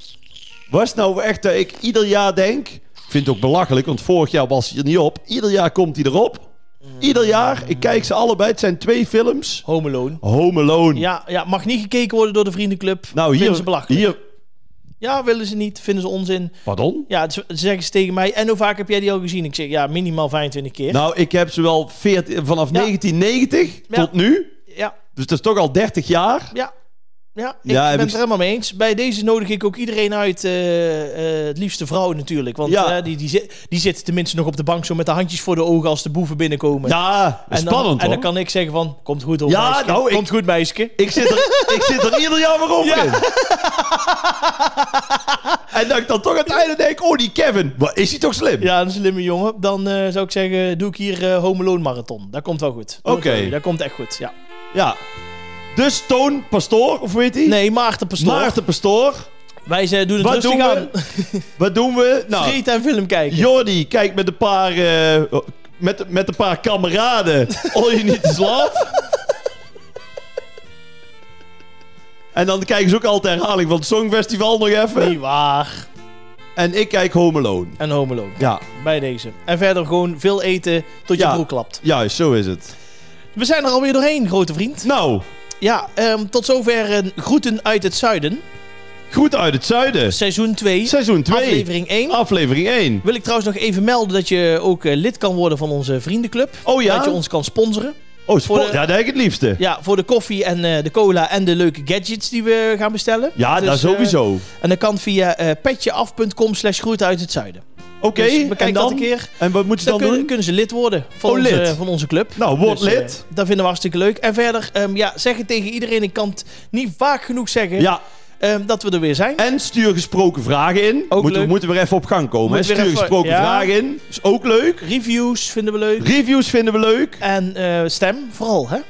Speaker 2: Was nou echt dat ik ieder jaar denk... Ik vind het ook belachelijk, want vorig jaar was hij er niet op. Ieder jaar komt hij erop. Ieder jaar, ik kijk ze allebei. Het zijn twee films.
Speaker 1: Home Alone.
Speaker 2: Home Alone.
Speaker 1: Ja, ja, mag niet gekeken worden door de vriendenclub.
Speaker 2: Nou,
Speaker 1: Vinden
Speaker 2: hier,
Speaker 1: ze belachelijk.
Speaker 2: hier...
Speaker 1: Ja, willen ze niet. Vinden ze onzin.
Speaker 2: Pardon?
Speaker 1: Ja, ze ze zeggen ze tegen mij. En hoe vaak heb jij die al gezien? Ik zeg, ja, minimaal 25 keer.
Speaker 2: Nou, ik heb ze wel 14, vanaf
Speaker 1: Ja.
Speaker 2: 1990
Speaker 1: Ja.
Speaker 2: tot nu.
Speaker 1: Ja,
Speaker 2: Dus dat is toch al 30 jaar.
Speaker 1: ja. Ja, ik
Speaker 2: Ja, heb
Speaker 1: ben
Speaker 2: ik-
Speaker 1: het er helemaal mee eens. Bij deze nodig ik ook iedereen uit. eh, eh, het liefste vrouwen natuurlijk. Want
Speaker 2: Ja.
Speaker 1: eh, die, die, zi- die zitten tenminste nog op de bank zo met de handjes voor de ogen als de boeven binnenkomen.
Speaker 2: Ja,
Speaker 1: en dan,
Speaker 2: spannend
Speaker 1: En dan
Speaker 2: hoor.
Speaker 1: kan ik zeggen van, komt goed hoor
Speaker 2: Ja,
Speaker 1: meisje.
Speaker 2: nou, ik-
Speaker 1: Komt goed meisje.
Speaker 2: Ik, zit er, ik zit er ieder jaar weer op
Speaker 1: Ja.
Speaker 2: in. En dat ik dan toch aan het einde denk, oh die Kevin, wat is hij toch slim?
Speaker 1: Ja, een slimme jongen. Dan eh, zou ik zeggen, doe ik hier eh Home Alone Marathon. Dat komt wel goed. Doe het
Speaker 2: Oké.
Speaker 1: wel. Dat komt echt goed, ja.
Speaker 2: Ja. Dus Toon Pastoor, of weet hij?
Speaker 1: Nee, Maarten Pastoor.
Speaker 2: Maarten Pastoor.
Speaker 1: Wij zijn, doen het
Speaker 2: Wat
Speaker 1: rustig
Speaker 2: doen we?
Speaker 1: aan.
Speaker 2: Wat doen we? Nou,
Speaker 1: Vreten en film kijken.
Speaker 2: Jordi, kijk met een paar... eh, met, met een paar kameraden. All you need is love. En dan kijken ze ook altijd herhaling van het Songfestival nog even.
Speaker 1: Niet waar.
Speaker 2: En ik kijk Home Alone.
Speaker 1: En Home Alone.
Speaker 2: Ja,
Speaker 1: Bij deze. En verder gewoon veel eten tot je
Speaker 2: Ja.
Speaker 1: broek klapt.
Speaker 2: juist, zo is het.
Speaker 1: We zijn er alweer doorheen, grote vriend.
Speaker 2: Nou,
Speaker 1: Ja, ehm, tot zover een groeten uit het zuiden.
Speaker 2: goed uit het zuiden.
Speaker 1: Seizoen 2,
Speaker 2: Seizoen Ah. 2, aflevering,
Speaker 1: aflevering 1.
Speaker 2: 1.
Speaker 1: Wil ik trouwens nog even melden dat je ook eh, lid kan worden van onze vriendenclub.
Speaker 2: Oh ja?
Speaker 1: Dat je ons kan sponsoren.
Speaker 2: Oh, sport.
Speaker 1: voor de-
Speaker 2: Ja, dat heb ik het liefste. Ja,
Speaker 1: Ja, voor de koffie en eh, de cola en de leuke gadgets die we gaan bestellen. Dus,
Speaker 2: dat
Speaker 1: eh,
Speaker 2: sowieso.
Speaker 1: en dat kan via eh petjeaf.com slash groeten uit het zuiden.
Speaker 2: Oké,
Speaker 1: dus
Speaker 2: en
Speaker 1: bekijk dat
Speaker 2: dan?
Speaker 1: een keer.
Speaker 2: En wat moeten ze
Speaker 1: Dan
Speaker 2: dan,
Speaker 1: kunnen,
Speaker 2: doen?
Speaker 1: kunnen ze lid worden van,
Speaker 2: Oh,
Speaker 1: onze,
Speaker 2: lid.
Speaker 1: van onze club.
Speaker 2: Nou, word
Speaker 1: Dus, eh,
Speaker 2: lid.
Speaker 1: dat vinden we hartstikke leuk. En verder, ehm, ja, zeg het tegen iedereen. Ik kan het niet vaak genoeg zeggen
Speaker 2: Ja,
Speaker 1: ehm, dat we er weer zijn.
Speaker 2: en stuur gesproken vragen in. moeten, we
Speaker 1: leuk.
Speaker 2: moeten weer even op gang komen. Hè?
Speaker 1: Moet weer
Speaker 2: Stuur
Speaker 1: even-
Speaker 2: gesproken
Speaker 1: ja.
Speaker 2: vragen in. Is ook leuk.
Speaker 1: Reviews vinden we leuk.
Speaker 2: Reviews vinden we leuk.
Speaker 1: En eh, stem vooral, hè?
Speaker 2: Ja,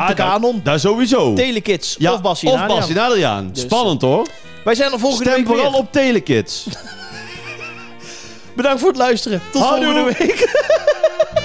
Speaker 1: Op de
Speaker 2: dat-
Speaker 1: kanon.
Speaker 2: Daar sowieso.
Speaker 1: Telekids
Speaker 2: ja,
Speaker 1: of Bassie
Speaker 2: Of
Speaker 1: Nadia.
Speaker 2: Bassie Adriaan.
Speaker 1: Dus,
Speaker 2: Spannend hoor.
Speaker 1: Wij zijn er volgende
Speaker 2: Stem
Speaker 1: week
Speaker 2: vooral
Speaker 1: weer.
Speaker 2: op Telekids.
Speaker 1: Bedankt voor het luisteren. Tot
Speaker 2: Houdoe.
Speaker 1: volgende week.